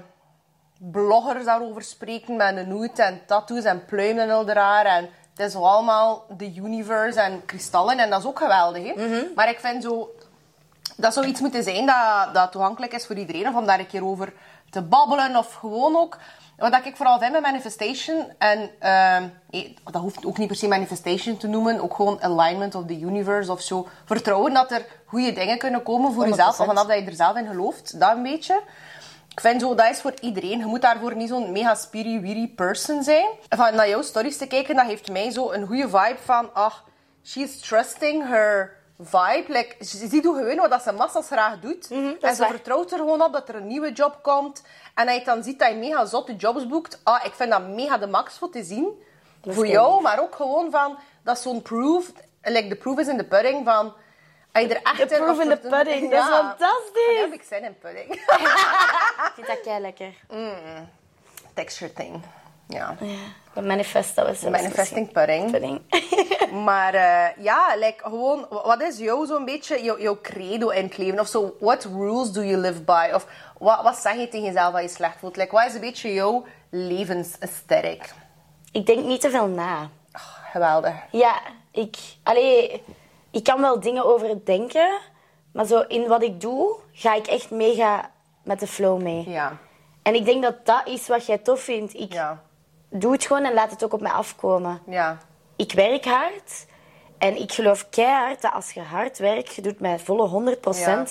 B: bloggers daarover spreken met een hoed en tattoos en pluimen en al de raar. En het is zo allemaal de universe en kristallen en dat is ook geweldig. Hè? Maar ik vind zo, dat zou iets moeten zijn dat, dat toegankelijk is voor iedereen. Of om daar een keer over te babbelen of gewoon ook... Wat ik vooral vind met manifestation, en ehm, eh, dat hoeft ook niet per se manifestation te noemen, ook gewoon alignment of the universe of zo. Vertrouwen dat er goede dingen kunnen komen voor jezelf, van vanaf dat je er zelf in gelooft, dat een beetje. Ik vind zo, dat is voor iedereen. Je moet daarvoor niet zo'n mega spiri-wiri person zijn. Van naar jouw stories te kijken, dat geeft mij zo een goede vibe van... Ach, she's trusting her vibe. Like, ze ze ziet hoe gewoon wat dat ze massas graag doet.
C: Mhm,
B: en ze vertrouwt er gewoon op dat er een nieuwe job komt. En dat je dan ziet dat je mega zotte jobs boekt. Ah, ik vind dat mega de max voor te zien. voor jou, maar ook gewoon van... Dat is zo'n proof... Like, de proof is in de pudding van... Als je er echt
C: De proof in de pudding, dat is fantastisch.
B: Daar heb ik zin in
C: [LAUGHS]
B: pudding.
A: Ik vind dat kei lekker.
B: Texture thing. Ja.
A: Bij manifest, dat was zelfs
B: Manifesting pudding. [LAUGHS]
A: misschien-
B: Maar eh, ja, like, gewoon, wa- wat is jou zo'n beetje jou- jouw credo in het leven? Of zo, what rules do you live by? Of wat, wat zeg je tegen jezelf als je slecht voelt? Like, wat is een beetje jouw levensaesthetic?
A: [LAUGHS] Ik denk niet te veel na.
B: Geweldig.
A: Ja, ik... Allee, ik kan wel dingen overdenken, maar zo in wat ik doe, ga ik echt mega met de flow mee.
B: Ja.
A: En ik denk dat dat is wat jij tof vindt. Ik
B: Ja.
A: doe het gewoon en laat het ook op mij afkomen.
B: Ja.
A: Ik werk hard en ik geloof keihard dat als je hard werkt, je doet met volle 100%,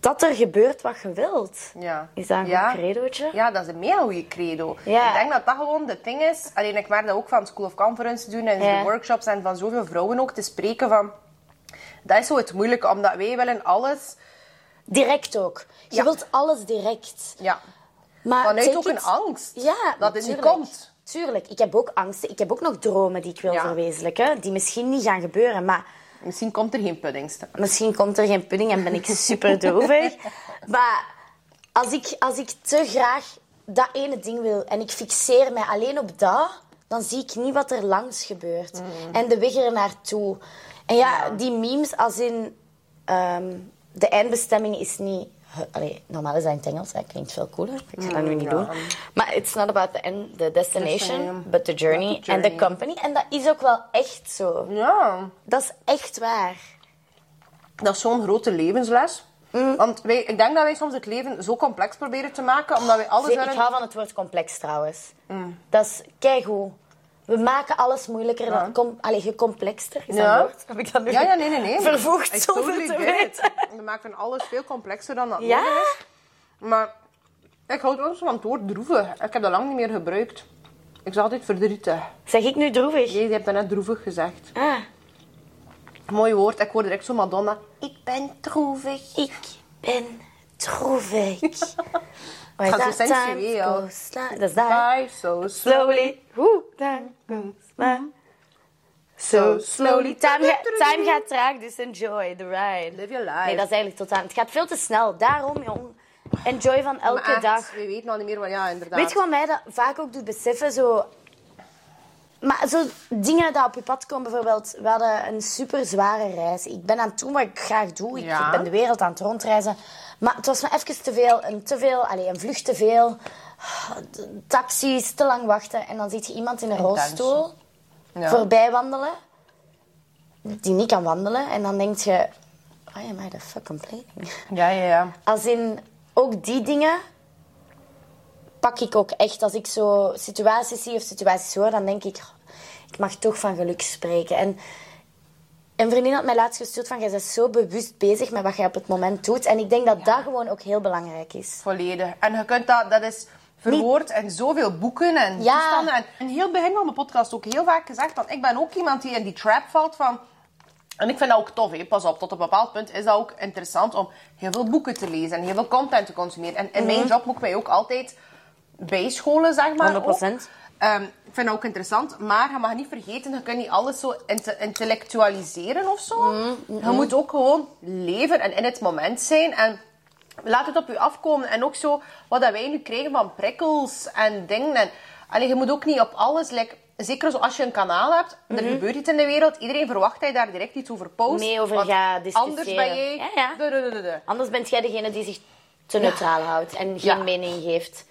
A: dat er gebeurt wat je wilt.
B: Ja.
A: Is dat een
B: ja.
A: goed credootje?
B: Ja, dat is een mega goede credo.
A: Ja.
B: Ik denk dat dat gewoon de ding is. Alleen ik merk dat ook van School of Conference doen en
A: Ja.
B: de workshops en van zoveel vrouwen ook te spreken van... Dat is zo het moeilijke, omdat wij willen alles...
A: Direct ook. Je
B: Ja.
A: wilt alles direct.
B: Ja.
A: Maar
B: Vanuit
A: take
B: ook een
A: it-
B: angst.
A: Ja,
B: Dat het niet
A: tuurlijk.
B: komt.
A: Tuurlijk, ik heb ook angsten. Ik heb ook nog dromen die ik wil
B: Ja.
A: verwezenlijken, die misschien niet gaan gebeuren. Maar
B: Misschien komt er geen puddings. te-
A: misschien komt er geen pudding en ben ik
B: [LAUGHS]
A: super droevig. maar als ik, als ik te graag dat ene ding wil en ik fixeer mij alleen op dat, dan zie ik niet wat er langs gebeurt.
B: Mm.
A: En de weg er naartoe. En ja, die memes als in ehm, de eindbestemming is niet. hu- Allee, normaal is dat in het Engels, hè. klinkt veel cooler. Ik ga dat
B: Mm,
A: nu niet doen. Maar it's not about the end, the destination,
B: Destination.
A: but the journey,
B: But the
A: and the
B: journey.
A: company. En dat is ook wel echt zo.
B: Ja.
A: Dat is echt waar.
B: Dat is zo'n grote levensles.
A: Mm.
B: Want wij, ik denk dat wij soms het leven zo complex proberen te maken, omdat wij alles
A: Zee,
B: willen...
A: Ik hou van het woord complex trouwens. Dat is keigoed. We maken alles moeilijker en com- allee, gecomplexter. Is dat
B: Ja.
A: een woord? Heb ik dat nu
B: Ja, ja, nee, nee, nee.
A: [LAUGHS] vervoegd
B: I
A: zonder
B: totally
A: te
B: get it.
A: weten?
B: We maken alles veel complexer dan dat
A: Ja?
B: nodig is. Maar ik houd wel eens van het woord droevig. Ik heb dat lang niet meer gebruikt. Ik zag altijd verdrietig.
A: Zeg ik nu droevig?
B: Jij hebt net droevig gezegd.
A: Ah,
B: Mooi woord. Ik hoor direct zo Madonna. Ik ben droevig.
A: ik ben
B: [LAUGHS]
A: droevig. Waar
B: Gaat zo
A: dat
B: sensueel.
A: time goes la- Dat is dat, hè?
B: Bye, so slow.
A: Slowly, hoe, time goes la- So slowly. Time, ga- time gaat traag, dus enjoy the ride.
B: Live your life.
A: Nee, dat is eigenlijk tot aan. Het gaat veel te snel. Daarom, jong. Enjoy van elke
B: Maar echt,
A: dag.
B: We weten al nou niet meer wat... Ja, inderdaad.
A: Weet je wat mij dat vaak ook doet beseffen? Zo... Maar zo dingen die op je pad komen, bijvoorbeeld. We hadden een super zware reis. Ik ben aan het doen wat ik graag doe. Ik,
B: Ja.
A: ik ben de wereld aan het rondreizen. Maar het was me even te veel. Een, te veel allee, een vlucht te veel. Taxis, te lang wachten. En dan ziet je iemand in een rolstoel
B: Ja.
A: voorbij wandelen. Die niet kan wandelen. En dan denk je... Why am I the fuck complaining?
B: Ja, ja, ja.
A: Als in, ook die dingen pak ik ook echt. Als ik zo situaties zie of situaties hoor, dan denk ik... "Oh, Ik mag toch van geluk spreken. En een vriendin had mij laatst gestuurd van... Jij bent zo bewust bezig met wat jij op het moment doet. En ik denk dat dat gewoon ook heel belangrijk is.
B: Volledig. En je kunt dat, dat is verwoord in zoveel boeken en
A: Ja.
B: toestanden. En in heel het begin van mijn podcast ook heel vaak gezegd, want ik ben ook iemand die in die trap valt van... En ik vind dat ook tof, hè. pas op, tot een bepaald punt is dat ook interessant om heel veel boeken te lezen en heel veel content te consumeren. En in mijn job moet ik mij ook altijd bijscholen, zeg maar.
A: 100%.
B: ook. Ehm, ik vind dat ook interessant, maar je mag niet vergeten, je kunt niet alles zo inte- intellectualiseren of zo.
A: Mm,
B: Je moet ook gewoon leven en in het moment zijn. En laat het op je afkomen. En ook zo, wat dat wij nu krijgen van prikkels en dingen. En, allee, je moet ook niet op alles... like, zeker zo als je een kanaal hebt, er
A: Mhm.
B: gebeurt iets in de wereld. Iedereen verwacht dat je daar direct iets over post.
A: Nee, over
B: want
A: gaat discussiëren.
B: Anders ben jij...
A: Ja, ja.
B: Du- du- du- du- du.
A: Anders bent jij degene die zich te neutraal houdt en geen
B: Ja.
A: mening geeft.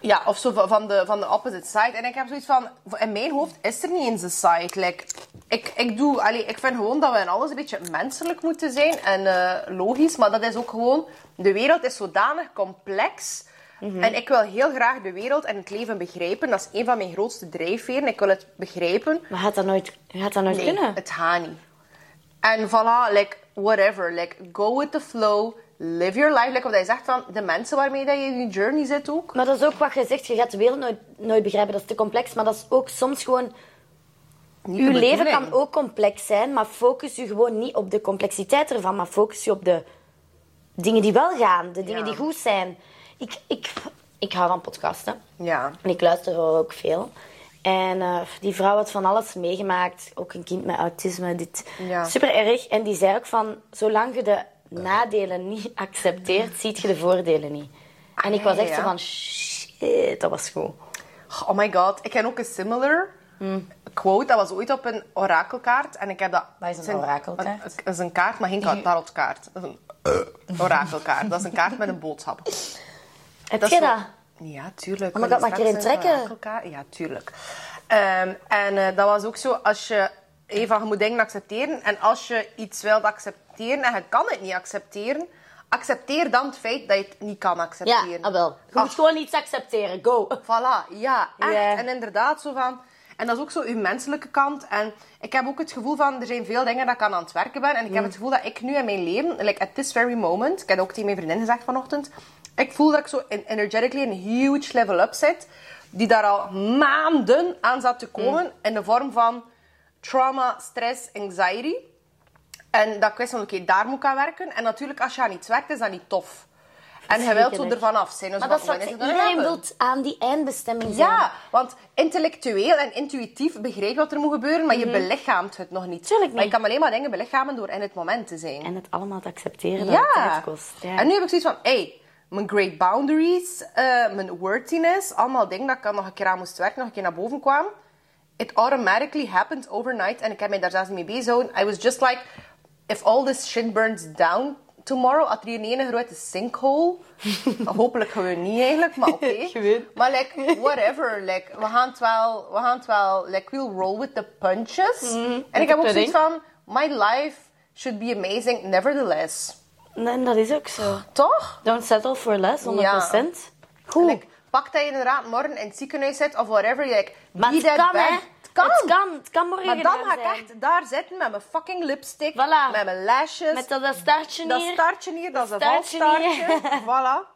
B: Ja, of zo van- van de, van de opposite side. En ik heb zoiets van, in mijn hoofd is er niet eens een side. Like, ik, ik, doe, allee, ik vind gewoon dat we in alles een beetje menselijk moeten zijn. En eh, logisch, maar dat is ook gewoon... De wereld is zodanig complex.
A: Mhm.
B: En ik wil heel graag de wereld en het leven begrijpen. Dat is een van mijn grootste drijfveren. Ik wil het begrijpen.
A: Maar gaat dat nooit, gaat dat nooit
B: Nee,
A: kunnen?
B: het gaat niet. En voilà, like, whatever. Like, go with the flow. Live your life. Like wat hij zegt van, de mensen waarmee dat je in je journey zit ook.
A: Maar dat is ook wat je zegt, je gaat de wereld nooit, nooit begrijpen, dat is te complex. Maar dat is ook soms gewoon...
B: Niet
A: Uw
B: de
A: leven
B: bedoeling.
A: kan ook complex zijn, maar focus je gewoon niet op de complexiteit ervan. Maar focus je op de dingen die wel gaan, de dingen
B: Ja.
A: die goed zijn. Ik, ik, ik hou van podcasten.
B: Ja.
A: En ik luister ook veel. En eh, die vrouw had van alles meegemaakt. Ook een kind met autisme. Dit.
B: Ja.
A: Super erg. En die zei ook van, zolang je de nadelen niet [LAUGHS] accepteert, ziet je de voordelen niet. En ik was echt
B: Ah, ja.
A: zo van, shit, dat was goed.
B: Oh my god, ik ken ook een similar
A: Hmm.
B: quote. Dat was ooit op een orakelkaart. En ik heb dat...
A: Wat is een
B: zijn-
A: orakelkaart?
B: een- Dat is een kaart, maar geen kaart- tarotkaart. Dat is een
A: [LAUGHS]
B: orakelkaart. Dat is een kaart met een boodschap.
A: Heb
B: Dat
A: je
B: is zo-
A: dat?
B: Ja, tuurlijk.
A: Oh my god, mag ik erin
B: Straks een
A: trekken?
B: orakelkaart. Ja, tuurlijk. Ehm, en eh, dat was ook zo, als je... Eva, je moet dingen accepteren. En als je iets wilt accepteren en je kan het niet accepteren... Accepteer dan het feit dat je het niet kan
A: Ja,
B: accepteren.
A: ah wel. Je
B: Ah,
A: moet gewoon iets accepteren. Go.
B: [LAUGHS] Voilà, ja, echt.
A: Ja.
B: En inderdaad, zo van... En dat is ook zo uw menselijke kant. En ik heb ook het gevoel van, er zijn veel dingen dat ik aan aan het werken ben. En ik
A: Mm.
B: heb het gevoel dat ik nu in mijn leven, like at this very moment... Ik heb ook tegen mijn vriendin gezegd vanochtend... Ik voel dat ik zo in- energetically een huge level up zit. Die daar al maanden aan zat te komen.
A: Mm.
B: In de vorm van trauma, stress, anxiety. En dat ik wist van, oké, daar moet ik aan werken. En natuurlijk, als je aan iets werkt, is dat niet tof. En je wilt zo
A: Verschrikkelijk.
B: ervan af zijn. Dus
A: Maar dat is
B: van,
A: wat ik
B: wanneer
A: zeg,
B: is het dan
A: Iedereen
B: hebben?
A: wil aan die eindbestemming zijn.
B: Ja, want intellectueel en intuïtief begrijp je wat er moet gebeuren, maar je belichaamt het nog niet.
A: Mhm. Tuurlijk niet.
B: Maar je kan alleen maar dingen belichamen door in het moment te zijn.
A: En het allemaal te accepteren dat het
B: ja.
A: tijd kost. Ja.
B: En nu heb ik zoiets van, hey, mijn great boundaries, eh, mijn worthiness, allemaal dingen dat ik al nog een keer aan moest werken, nog een keer naar boven kwam. It automatically happened overnight en ik heb mij daar zelfs niet mee bezig I was just like, if all this shit burns down tomorrow, had er hier niet een grote sinkhole. Hopelijk gewoon niet eigenlijk, maar oké.
A: Je weet.
B: Maar like, whatever. Like, we gaan het wel, we gaan het wel, like, we'll roll with the punches. en ik heb ook zoiets
A: pudding.
B: van, my life should be amazing nevertheless.
A: En dat is ook
B: Ah.
A: zo.
B: Toch?
A: Don't settle for less, 100%.
B: Goed. pak dat je inderdaad morgen in het ziekenhuis zit of whatever. je Like,
A: Maar
B: be
A: het
B: that
A: kan,
B: bad.
A: hè?
B: Het kan.
A: Het kan, het kan morgen
B: Maar dan
A: gedaan
B: ga ik
A: zijn.
B: echt daar zitten met mijn fucking lipstick,
A: Voilà.
B: met mijn lashes.
A: Met dat, dat staartje
B: dat
A: hier.
B: staartje hier, dat is een vals
A: staartje
B: staartje.
A: [LAUGHS]
B: voilà.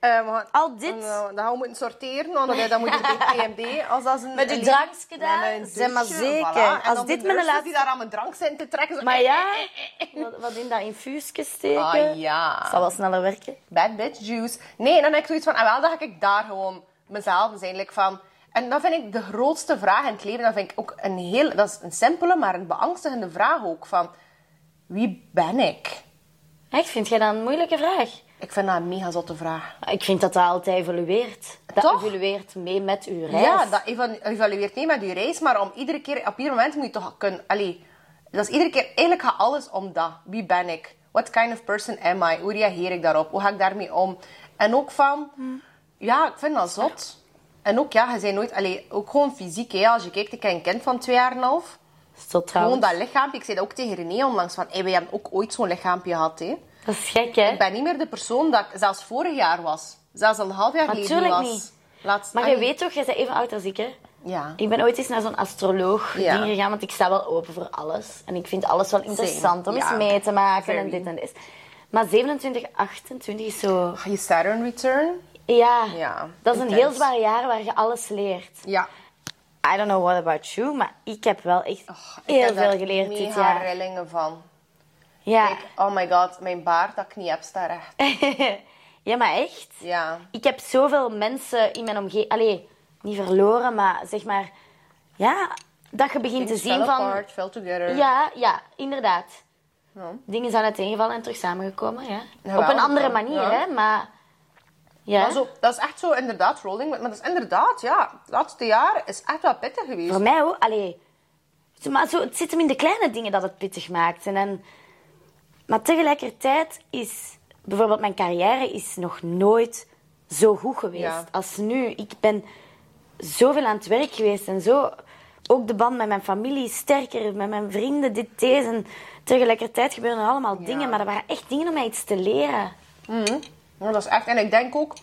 B: Eh, we gaan-
A: Al dit.
B: Nou, dat gaan we moeten sorteren, want dat- dat moet je
A: [LAUGHS]
B: bij PMD. Als dat is een,
A: Met de
B: een-
A: drankjes gedaan,
B: met een
A: zeg maar
B: douche,
A: zeker.
B: voilà. En
A: Als
B: dan
A: dit
B: de
A: mijn
B: nurses
A: laatste-
B: die daar aan mijn drank zijn te trekken. zo-
A: Maar
B: Eh,
A: ja, wat, wat in dat infuusje steken.
B: Ah ja.
A: Zal wel sneller werken.
B: bad bitch juice. Nee, dan heb ik zoiets van, ah wel, dan ga ik daar gewoon mezelf zijn. like van, en dat vind ik de grootste vraag in het leven. Dat vind ik ook een heel, dat is een simpele, maar een beangstigende vraag ook. Van, wie ben ik?
A: Echt, vind jij dat een moeilijke vraag?
B: Ik vind dat een mega zotte vraag.
A: Ik vind dat dat altijd evolueert. Dat
B: Toch?
A: evolueert mee met uw reis.
B: Ja, dat eva- evalueert niet met je reis, maar om iedere keer, op ieder moment moet je toch kunnen... Allee, dat is iedere keer, eigenlijk gaat alles om dat. Wie ben ik? What kind of person am I? Hoe reageer ik daarop? Hoe ga ik daarmee om? En ook van...
A: Hmm.
B: Ja, ik vind dat zot. En ook, ja, je bent nooit... Allee, ook gewoon fysiek, hè. Als je kijkt, ik heb een kind van 2,5. half.
A: Tot trouwens.
B: Gewoon dat lichaampje. Ik zei dat ook tegen René onlangs. Van, hey, wij hebben ook ooit zo'n lichaampje gehad, hè.
A: Dat is gek, hè?
B: Ik ben niet meer de persoon dat ik zelfs vorig jaar was. Zelfs al een half jaar geleden
A: Natuurlijk
B: was.
A: niet.
B: Laatst-
A: Maar je
B: allee,
A: weet toch, jij bent even oud als ik, hè?
B: Ja.
A: Ik ben ooit eens naar zo'n astroloog
B: Ja.
A: ding gegaan, want ik sta wel open voor alles. En ik vind alles wel interessant om
B: ja.
A: eens mee te maken en
B: Very.
A: dit en dit. Maar 27, 28 is zo...
B: Je Saturn return.
A: Ja,
B: Ja,
A: dat is een heel
B: intens.
A: zwaar jaar waar je alles leert.
B: Ja.
A: I don't know what about you, maar ik heb wel echt
B: ik
A: heel
B: heb daar
A: veel geleerd dit
B: mega
A: jaar.
B: rillingen van.
A: Ja.
B: Kijk, oh my god, mijn baard dat ik niet heb, staat recht.
A: ja, maar echt.
B: Ja.
A: Ik heb zoveel mensen in mijn omgeving... Allee, niet verloren, maar zeg maar, ja, dat je begint te
B: Things
A: zien
B: fell
A: van.
B: apart, fell together.
A: Ja, ja, inderdaad.
B: eh, Ja.
A: Dingen zijn uiteengevallen en terug samengekomen, ja.
B: Jawel,
A: Op een andere
B: ja.
A: manier,
B: Ja.
A: hè, maar. Ja.
B: Maar zo, dat is echt zo inderdaad rolling. Maar dat is inderdaad, ja. Het laatste jaar is echt wel pittig geweest.
A: Voor mij ook. Allee. Zo, Maar zo, het zit hem in de kleine dingen dat het pittig maakt. En dan, maar tegelijkertijd is bijvoorbeeld mijn carrière is nog nooit zo goed geweest
B: Ja.
A: als nu. Ik ben zoveel aan het werk geweest en zo. Ook de band met mijn familie is sterker, met mijn vrienden, dit, deze. En tegelijkertijd gebeuren er allemaal
B: Ja.
A: dingen, maar dat waren echt dingen om mij iets te leren.
B: Ja, dat is echt. En ik denk ook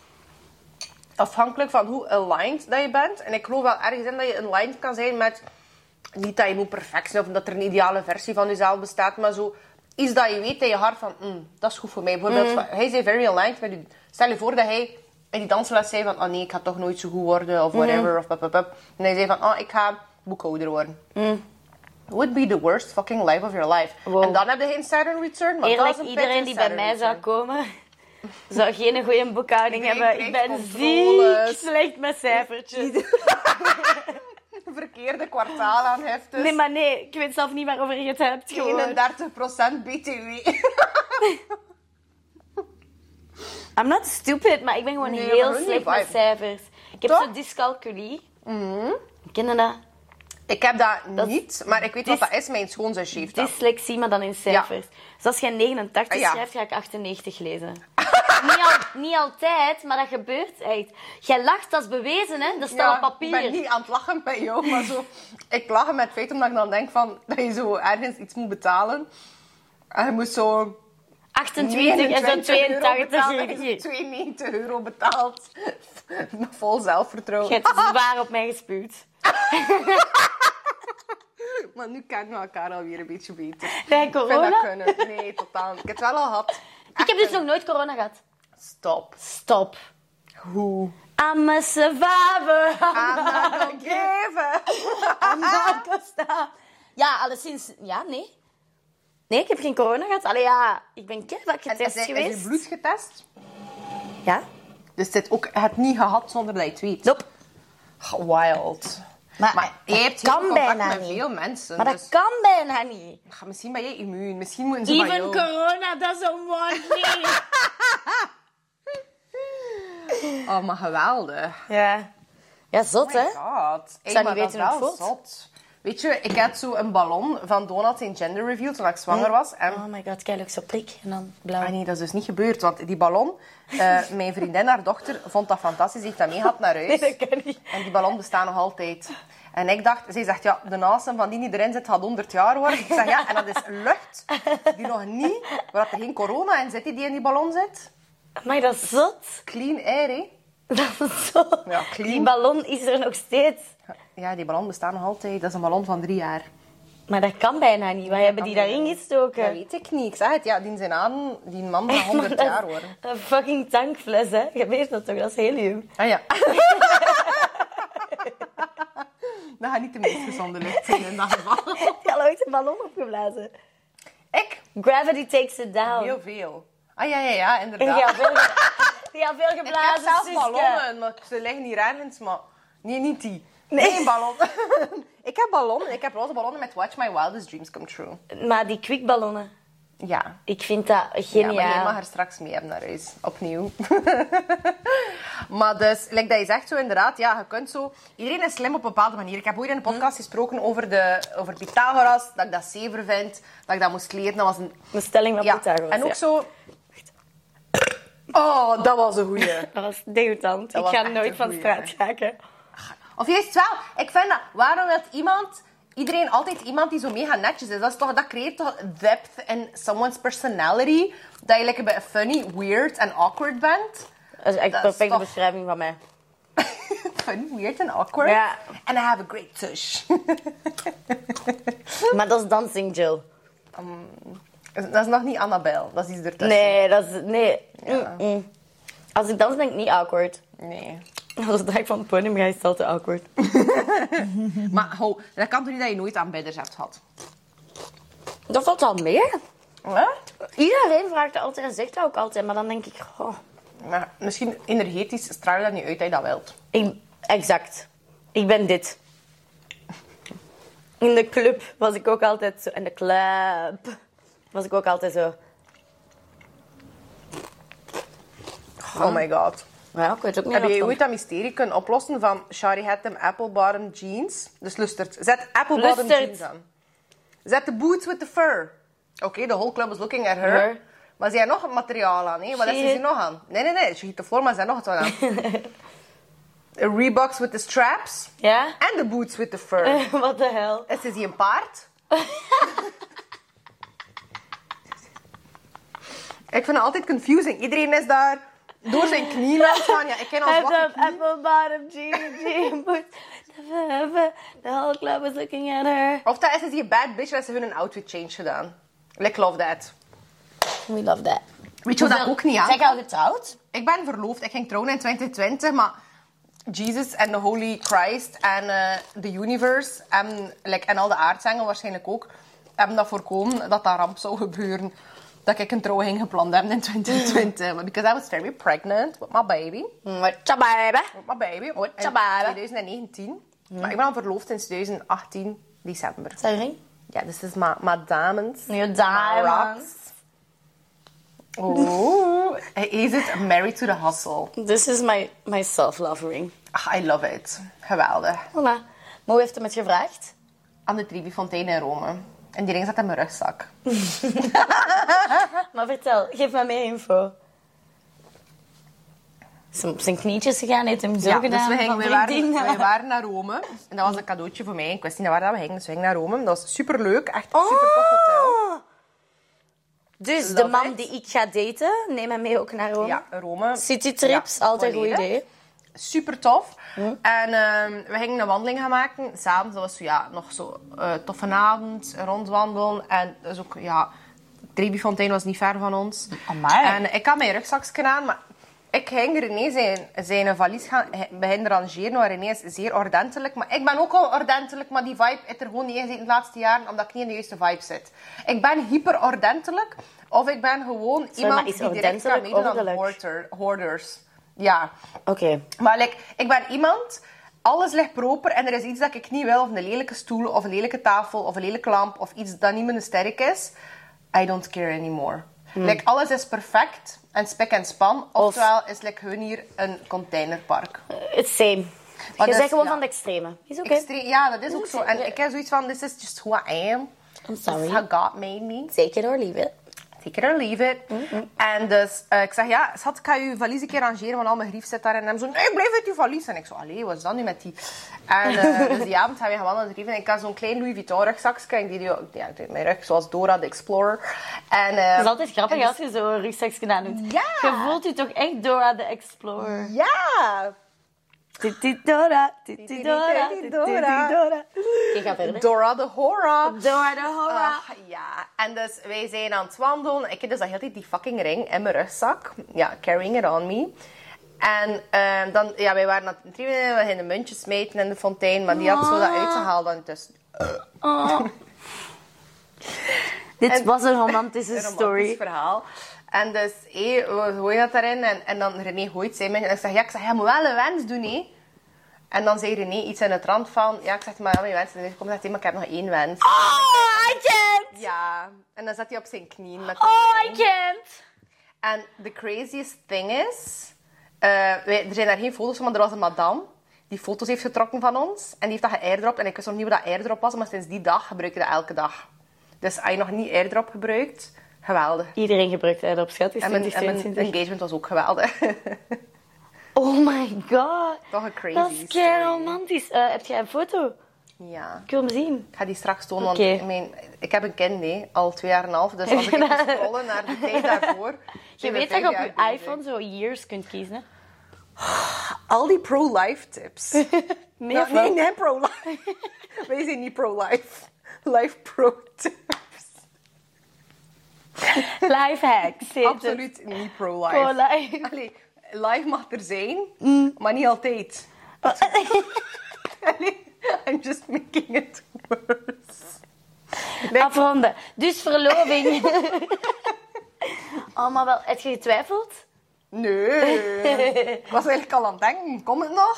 B: afhankelijk van hoe aligned dat je bent. En ik geloof wel ergens in dat je aligned kan zijn met. Niet dat je moet perfect zijn of dat er een ideale versie van jezelf bestaat, maar zo iets dat je weet in je hart van, "Mm, dat is goed voor mij. Bijvoorbeeld,
A: Mm.
B: van- hij zei very aligned met je. Stel je voor dat hij in die dansles zei van, oh nee, ik ga toch nooit zo goed worden
A: Mm.
B: of whatever of pap, pap, pap. En hij zei van, oh, ik ga boekhouder worden. Would be the worst fucking life of your life.
A: Mm. Wow.
B: En dan heb je geen Saturn return, maar dat
A: Eerlijk,
B: is een
A: iedereen
B: pittige
A: die bij
B: Saturn
A: mij zou
B: return.
A: komen, [LAUGHS] zou geen goede boekhouding
B: Iedereen
A: hebben. Ik
B: krijgt
A: ben
B: controles.
A: ziek slecht met cijfertjes.
B: [LAUGHS] verkeerde kwartaalaanheftes.
A: Nee, maar nee, ik weet zelf niet waarover je het hebt. Gewoon.
B: 31% BTW.
A: I'm not stupid, maar ik ben gewoon
B: Nee, maar
A: heel
B: hoe
A: slecht
B: die
A: met
B: vibe?
A: cijfers. Ik heb
B: Toch? Mhm.
A: zo'n dyscalculie. Ken je dat?
B: [LAUGHS] Ik heb dat,
A: Dat is-
B: niet, maar ik weet
A: dis-
B: wat dat is. Mijn schoonzusje heeft dat.
A: Dyslexie, maar dan in cijfers. Dus als jij 89
B: Ah, ja.
A: schrijft, ga ik 98 lezen. [LAUGHS] niet, al- niet altijd, maar dat gebeurt echt. Jij lacht, dat is bewezen, hè? Dat staat
B: Ja,
A: op papier.
B: Ik ben niet aan het lachen bij jou, maar zo... [LAUGHS] ik lach met het feit omdat ik dan denk van, dat je zo ergens iets moet betalen. En je moet zo...
A: 28 en zo'n [LAUGHS] 82.
B: [LAUGHS] euro
A: hier.
B: 92 euro betaald. [LAUGHS] Vol zelfvertrouwen.
A: Je hebt zwaar op mij gespuugd.
B: Maar nu kennen we elkaar alweer een beetje beter.
A: Bij
B: Ik vind dat
A: corona?
B: kunnen. Nee, totaal niet. Ik heb het wel al gehad.
A: Ik heb dus nog nooit corona gehad.
B: Stop.
A: Stop.
B: Hoe?
A: I'm a [LAUGHS] survivor.
B: [LAUGHS] geven.
A: Ja, alleszins. Ja, nee. Nee, ik heb geen corona gehad. Allee, ja, ik ben keihard
B: En is,
A: getest
B: hij- is
A: geweest.
B: je bloed getest?
A: Ja?
B: Dus dit ook het niet gehad zonder dat je het weet.
A: Nope.
B: Wild.
A: Maar,
B: Maar je
A: dat
B: hebt heel
A: kan
B: contact
A: bijna
B: met
A: niet.
B: veel mensen.
A: Maar
B: dus
A: dat kan bijna niet.
B: Ga, misschien ben jij immuun. Misschien moeten ze bij
A: Even
B: jou.
A: corona doesn't want me.
B: Oh, maar geweldig.
A: ja. Ja, zot,
B: Oh
A: hè?
B: my god. Ik
A: zou niet weten hoe het voelt.
B: Zot. Weet je, ik had zo een ballon van Donald in Gender Reveal toen ik zwanger was. En
A: Oh my god, kijk, ook zo prik. En dan
B: Ah
A: blauw.
B: nee, dat is dus niet gebeurd, want die ballon, eh, [LAUGHS] mijn vriendin, haar dochter, vond dat fantastisch. Die heeft dat meegehad naar huis.
A: [LAUGHS] Nee, dat kan niet.
B: En die ballon bestaat nog altijd. En ik dacht, zij zegt, ja, de nasem van die die erin zit gaat 100 jaar worden. Ik zeg, ja, en dat is lucht die nog niet, waar dat er geen corona in zit, die die in die ballon zit.
A: Maar dat is zot.
B: Clean air, hè.
A: Dat is zot.
B: Ja, clean.
A: Die ballon is er nog steeds.
B: Ja, die ballon bestaat nog altijd. Dat is een ballon van drie jaar.
A: Maar dat kan bijna niet. Wij hebben
B: kan
A: die
B: bijna
A: daarin
B: niet. Dat
A: gestoken.
B: weet ik niet. Ik zeg het, ja, die zijn aan, die man gaat 100
A: Maar
B: jaar
A: dat is
B: worden.
A: Een fucking tankfles, hè? Je weet dat toch? Dat is helium. [LAUGHS]
B: Ah ja. [LAUGHS] dat gaat niet de meest gezonde lucht zijn in dat geval.
A: Je had ooit een ballon opgeblazen.
B: Ik?
A: Gravity takes it down.
B: Heel veel. Ah ja, ja, ja,
A: Die
B: inderdaad.
A: had veel, ge- [LAUGHS] die had veel
B: ik heb
A: geblazen.
B: zelf
A: Suske.
B: ballonnen, maar ze liggen hier ergens, maar... Nee, niet die. Nee, ballon. ik heb ballonnen, [LAUGHS] ik heb roze ballonnen met Watch My Wildest Dreams Come True.
A: Maar die kwikballonnen,
B: Ja.
A: ik vind dat
B: Ja,
A: geniaal.
B: maar jij mag er straks mee hebben naar huis. Opnieuw. [LAUGHS] maar dus, like dat je zegt zo inderdaad, ja, je kunt zo... Iedereen is slim op een bepaalde manier. Ik heb ooit in een podcast gesproken over, de, over Pythagoras, dat ik dat zever vind, dat ik dat moest leren. Dat was een...
A: Een stelling van
B: Ja,
A: Pythagoras.
B: en ook
A: ja.
B: zo... [COUGHS] Oh, dat was een goeie.
A: Dat was degoutant.
B: Dat
A: ik
B: was
A: ga
B: echt een
A: nooit van
B: goeie,
A: straat
B: hè.
A: raken.
B: Of juist wel. Ik vind dat, waarom dat iemand... Iedereen, altijd iemand die zo mega netjes is. Dat, is toch, dat creëert toch depth in someone's personality. Dat je lekker bij funny, weird en awkward bent.
A: Dat is
B: Dat
A: echt een
B: is
A: perfecte
B: toch-
A: beschrijving van mij.
B: [LAUGHS] funny, weird en awkward.
A: Ja.
B: And I have a great tush. [LAUGHS]
A: Maar dat is Dancing Jill.
B: dat is nog niet Annabelle. Dat is iets ertussen.
A: Nee, dat is... Nee. Mm-mm. Als ik dans ben ik niet awkward. [LAUGHS]
B: Nee.
A: Als ik dag van het podium ga, is het altijd awkward.
B: Maar ho, dat kan toch niet dat je nooit aanbidders hebt gehad?
A: Dat valt wel meer.
B: Hè?
A: Iedereen vraagt dat altijd en zegt dat ook altijd. Maar dan denk ik... goh,
B: Maar misschien energetisch straal je dat niet uit dat je dat wilt.
A: ik, Exact. Ik ben dit. In de club was ik ook altijd zo. In de club was ik ook altijd zo.
B: Oh my god.
A: Ja, ik weet ook niet
B: Heb
A: wat
B: je
A: het
B: ooit dat mysterie kunnen oplossen van Shari had hem apple bottom jeans? Dus lustert. Zet apple bottom
A: Lustert.
B: jeans aan. Zet de boots with the fur. Oké, the whole club is looking at her.
A: Her.
B: Maar ze had nog het materiaal aan, hè? Wat
A: She
B: is ze
A: hit-
B: nog aan? Nee, nee, nee. Ze hit de floor, maar ze had nog het wel aan. Een Reeboks with the straps.
A: Ja?
B: En de boots with the
C: Eh.
A: [LAUGHS]
B: fur.
A: Wat de hel?
B: Is ze hier een paard? ik vind het altijd confusing. Iedereen is daar door zijn knieën aan het gaan. Ja, ik ken als
A: Have
B: wakker
A: them apple bottom jeans, [LAUGHS] jeans, boots. The whole club was looking at her.
B: Of dat is het die bad bitch dat ze hun een outfit change gedaan. Like love that.
A: We love that.
B: Weet je wat dat ook niet aan?
A: Zijn jij al getrouwd?
B: Ik ben verloofd. Ik ging trouwen in 2020, maar Jesus en the Holy Christ en eh, the universe en, like, en al de aardsengel waarschijnlijk ook hebben dat voorkomen dat dat ramp zou gebeuren. Dat ik een trouwing gepland heb in 2020. Maar Because I was very pregnant with my baby.
A: What's up, baby?
B: With my baby.
A: Wat
B: In
A: jabara.
B: 2019. Maar ik ben al verloofd sinds 2018 december.
A: Zijn ring?
B: Ja, dus is my, my diamonds.
A: Your
B: My rocks.
A: diamonds.
B: Oeh, Oh. is it married to the hustle?
A: This is my, my self-love ring.
B: Ah, I love it. Geweldig.
A: Voilà. Maar hoe heeft hem het gevraagd?
B: Aan de Trivi Fontein in Rome. En die ring zat in mijn rugzak.
A: [LAUGHS] Maar vertel, geef me meer info. Ze op zijn knietjes gegaan, heeft hem zo
B: dus
A: gedaan.
B: we, gingen,
A: van
B: we,
A: drie
B: waren,
A: dingen.
B: we waren naar Rome. En dat was een cadeautje voor mij. Ik wist niet naar waar dat we gingen, dus we gingen naar Rome. Dat was superleuk. Echt een
A: Oh.
B: super tof hotel.
A: Dus
B: Love
A: de man
B: it.
A: die ik ga daten, neem hem mee ook naar Rome.
B: Ja, Rome.
A: Citytrips,
B: Ja,
A: altijd een goed
B: volledig.
A: idee.
B: super tof. En ehm, we gingen een wandeling gaan maken. Samen, dat was zo, ja, nog zo eh toffe avond, rondwandelen. En dat is ook, ja, Trebifontein was niet ver van ons.
A: Amai.
B: En ik had mijn rugzakje aan, maar ik ging René zijn, zijn valies gaan hij- beginnen rangeren. Want René is zeer ordentelijk. Maar ik ben ook al ordentelijk, maar die vibe is er gewoon niet in gezeten de laatste jaren, omdat ik niet in de juiste vibe zit. Ik ben hyper ordentelijk, of ik ben gewoon iemand
A: maar is
B: die direct kan
A: ordentelijk
B: meedoen aan
A: ordelijk?
B: hoarder- hoarders. Ja.
A: Oké.
B: Maar like, ik ben iemand, alles ligt proper en er is iets dat ik niet wil. Of een lelijke stoel, of een lelijke tafel, of een lelijke lamp, of iets dat niet mijn sterk is. I don't care anymore.
A: Hmm.
B: Like, alles is perfect en spik en span. Oftewel is like, hun hier een containerpark.
A: It's same.
B: Maar
A: je
B: dus,
A: zegt gewoon
B: ja.
A: van de extreme. Is oké.
B: Extreem- ja, dat is ook zo. En ik heb zoiets van, this is just who I am.
A: I'm
B: This is
A: sorry.
B: how God made me.
A: Take it or leave it.
B: Take it or leave it. En dus eh, ik zeg, ja, schat, ik ga je valies een keer rangeren, want al mijn grief zit daar. En hem zo, nee, blijf uit je valies. En ik zo, allee, wat is dat nu met die? En
A: [LAUGHS]
B: eh, dus die avond hebben we gewandeld naar de Rieven. En ik had zo'n klein Louis Vuitton rugzakje. En die doe ik- ja, ik deed mijn rug zoals Dora de Explorer. En, eh,
A: Het is altijd grappig als je zo'n rugzakje aan doet.
B: Ja.
A: Je voelt je toch echt Dora the Explorer.
B: ja,
A: Titi Dora, Titi Dora,
B: Titi
A: Titi
B: Dora.
A: Dora. Je gaat verder.
B: Dora de Hora.
A: Dora de Hora.
B: Ah, ja, en dus wij zijn aan het wandelen. Ik heb dus dat hele tijd die fucking ring in mijn rugzak. Ja, carrying it on me. En ehm, dan, ja, wij waren aan het trainen, we gingen muntjes smijten in de fontein, maar die had zo dat
A: Ah.
B: uitgehaald dan tussen.
A: Oh. Dit
B: En-
A: was een
B: [LAUGHS]
A: romantische story.
B: verhaal. En dus, hé, we gooien dat daarin. En, en dan René gooit zijn muntje. En ik zeg, ja, ik zeg, jij moet wel een wens doen, hé. En dan zei René iets in het rand van, ja, ik zeg, maar ja, mijn wens. En hij komt zegt, hé, maar ik heb nog één wens.
A: Oh, I can't!
B: Ja, en dan zat hij op zijn knieën met
A: Oh,
B: de
A: I can't!
B: En the craziest thing is... eh, wij, er zijn daar geen foto's van, maar er was een madame die foto's heeft getrokken van ons. En die heeft dat geairdropt. En ik wist nog niet wat dat airdrop was, maar sinds die dag gebruik je dat elke dag. Dus als je nog niet airdrop gebruikt, geweldig.
A: Iedereen gebruikt dat op schat. is
B: En mijn, en mijn
A: 2022.
B: engagement was ook geweldig. [LAUGHS]
A: Oh my god.
B: Toch een crazy
A: Dat is kei romantisch. Eh, heb jij een foto?
B: Ja.
A: Ik wil hem zien.
B: Ik ga die straks tonen,
A: Oké.
B: want ik, mijn, ik heb een kind, hè, al twee jaar en een half. Dus als ik
A: [LAUGHS]
B: even scrollen naar de tijd daarvoor...
A: Je
B: zijn we
A: weet dat
B: vijf
A: je
B: jaar
A: op je
B: bezig.
A: iPhone zo years kunt kiezen. hè?
B: Al die pro-life tips.
A: Meer
B: Ja,
C: Nou,
A: van-
B: nee, nee, pro-life. [LAUGHS] Wij zijn niet pro-life. Life pro-tips. [LAUGHS]
A: Life hacks. heet het.
B: Absoluut niet pro-life.
A: Pro-life.
B: Allee, life mag er zijn,
C: Mm.
B: maar niet altijd. [LAUGHS] Allee, I'm just making it worse. Nee,
A: Afronden. Dus verloving. oh, maar wel, heb je getwijfeld?
B: Nee.
C: [LAUGHS]
B: ik was eigenlijk al aan het denken. Kom het nog?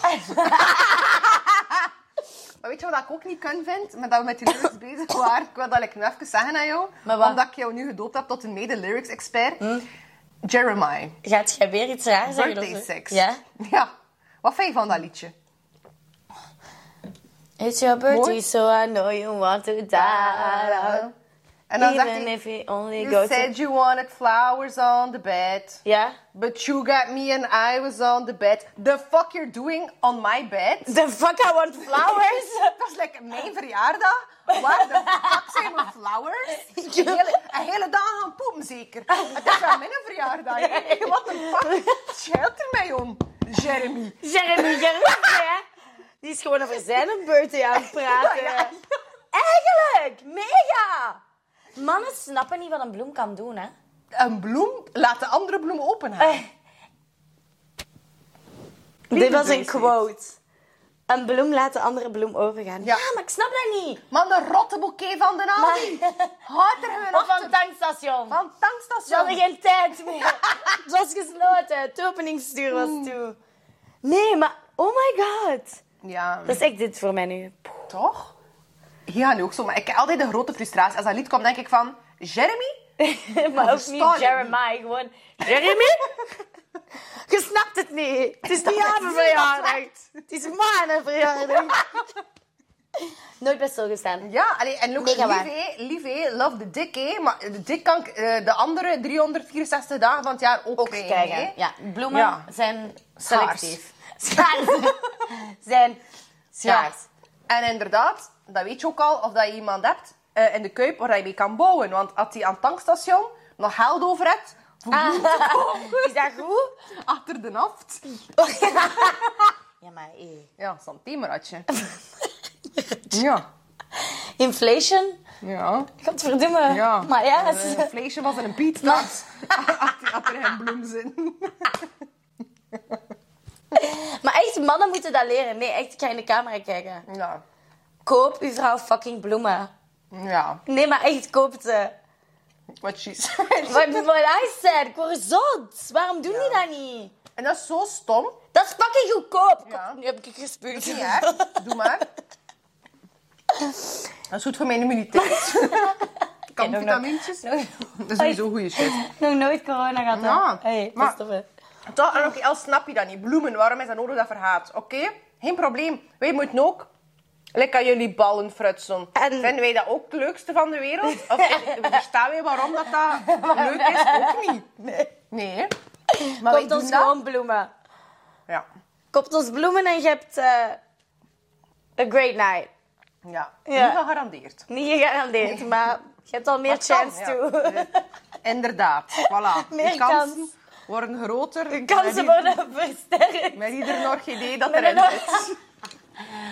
B: maar weet je wat ik ook niet kun vind? Met dat we met die lyrics bezig waren. Ik wil dat ik nu even zeggen aan jou.
C: Maar wat? Mm.
B: Omdat ik jou nu gedoopt heb tot een mede-lyrics-expert. Jeremiah.
C: Gaat jij weer iets raars zeggen? of
B: Birthday
C: zo?
B: sex.
C: Ja?
B: Ja. Wat vind je van dat liedje?
C: It's your birthday,
B: Mooi.
C: so I know you want to die.
B: En dan zegt
C: Even
B: hij...
C: if you only
B: You
C: go to...
B: said you wanted flowers on the bed.
C: Ja?
B: But you got me and I was on the bed. The fuck you're doing on my bed?
C: The fuck I want flowers?
B: Dat is lekker mijn verjaardag. Waar de fuck zijn mijn
C: [LAUGHS]
B: flowers? Een hele, een hele dag gaan poepen, zeker. Het is wel mijn verjaardag.
C: [LAUGHS]
B: hè? Wat een fuck. Schelt er mij om, Jeremy.
C: [LAUGHS] Jeremy, Jeremy, hè? Die is gewoon over zijn birthday [LAUGHS] aan het praten.
B: Ja, ja.
C: Eigenlijk, mega! Mannen snappen niet wat een bloem kan doen, hè?
B: Een bloem, laat de andere bloem open gaan.
C: Dit was een
B: Bracelet.
C: quote. Een bloem laat de andere bloem overgaan.
B: Ja.
C: Ja, maar ik snap dat niet.
B: Maar de rotte bouquet van de Aldi. Gaat er gewoon
C: Of van
B: achter.
C: het tankstation.
B: Van het
C: Ze hadden
B: tankstation.
C: geen tijd [LAUGHS] meer. Het was gesloten. Het openingsuur was toe. Nee, maar oh my god.
B: Ja,
C: Dat is echt dit voor mij nu.
B: toch? Ja, nu ook zo. Maar ik heb altijd de grote frustratie. Als dat lied komt, denk ik van... Jeremy?
C: [LAUGHS] maar ook
B: verstaan
C: niet
B: ik
C: Jeremiah, gewoon Jeremy? [LAUGHS] Je snapt het niet. Het is niet
B: dat
C: haar
B: is
C: verjaardag. Het is mijn verjaardag. [LAUGHS] Nooit bij stilgestaan.
B: Ja, allee, en look,
C: Mega
B: lief,
C: waar.
B: hè, lief, hè, love the dick, hè. Maar de dik kan ik eh, de andere 364 dagen van het jaar ook,
C: Ook
B: krijgen,
C: krijgen.
B: hè.
C: Ja, bloemen
B: Ja.
C: zijn selectief. [LAUGHS] Schaars. zijn
B: Ja.
C: schaars.
B: En inderdaad, dat weet je ook al, of dat je iemand hebt eh, in de kuip waar je mee kan bouwen. Want als die aan het tankstation nog geld over hebt, voor bloemen te
C: Ah.
B: kopen,
C: [LAUGHS] Is dat goed?
B: achter de naft.
C: Ja, maar eh.
B: Ja, zo'n themeratje. ja.
C: Inflation?
B: Ja.
C: Godverdomme.
B: Ja.
C: Maar ja, het is-
B: Een vleesje was in een bietstad. [LAUGHS] Achter achter een bloemzin.
C: maar echt, mannen moeten dat leren. Nee, echt, ik ga in de camera kijken.
B: Ja.
C: Koop uw vrouw fucking bloemen.
B: Ja.
C: Nee, maar echt, koop ze.
B: Wat she [LAUGHS] said.
C: What, [LAUGHS] what I said, ik word zot. Waarom doen die dat niet?
B: En dat is zo stom.
C: Dat is fucking goedkoop.
B: Ja.
C: Kom, Nu heb ik gespuugd.
B: Niet erg. Doe maar.
C: [LAUGHS]
B: Dat is goed voor mijn immuniteit. [LAUGHS] Kampvitamintjes. Dat is niet zo'n goede shit.
C: Nog nooit corona gehad. hè?
B: Ja,
C: Hey,
B: maar-
C: dat is toch, hè?
B: Toch, en oké, al snap je dat niet. Bloemen, waarom is dat nodig dat verhaat? Oké, geen probleem. Wij moeten ook... Lekker aan jullie ballen frutsen.
C: En-
B: Vinden wij dat ook het leukste van de wereld? Of [LAUGHS] eh, verstaan wij [LAUGHS] waarom dat, dat leuk is? Ook niet. Nee. hè? Maar wij
C: Koopt
B: doen
C: ons
B: dat.
C: gewoon bloemen.
B: Ja.
C: Koopt ons bloemen en je hebt eh, a great night.
B: Ja.
C: Ja.
B: Niet gegarandeerd.
C: Niet gegarandeerd, maar je hebt al meer
B: Maar het kan,
C: chance [LAUGHS]
B: ja. [LAUGHS]
C: toe.
B: Inderdaad,
C: [LAUGHS]
B: voilà.
C: Meer
B: Die kansen
C: kans.
B: worden groter.
C: Kansen
B: met,
C: worden versterkt.
B: i- met ieder nog idee dat
C: Met
B: erin
C: een-
B: zit.
C: [LAUGHS]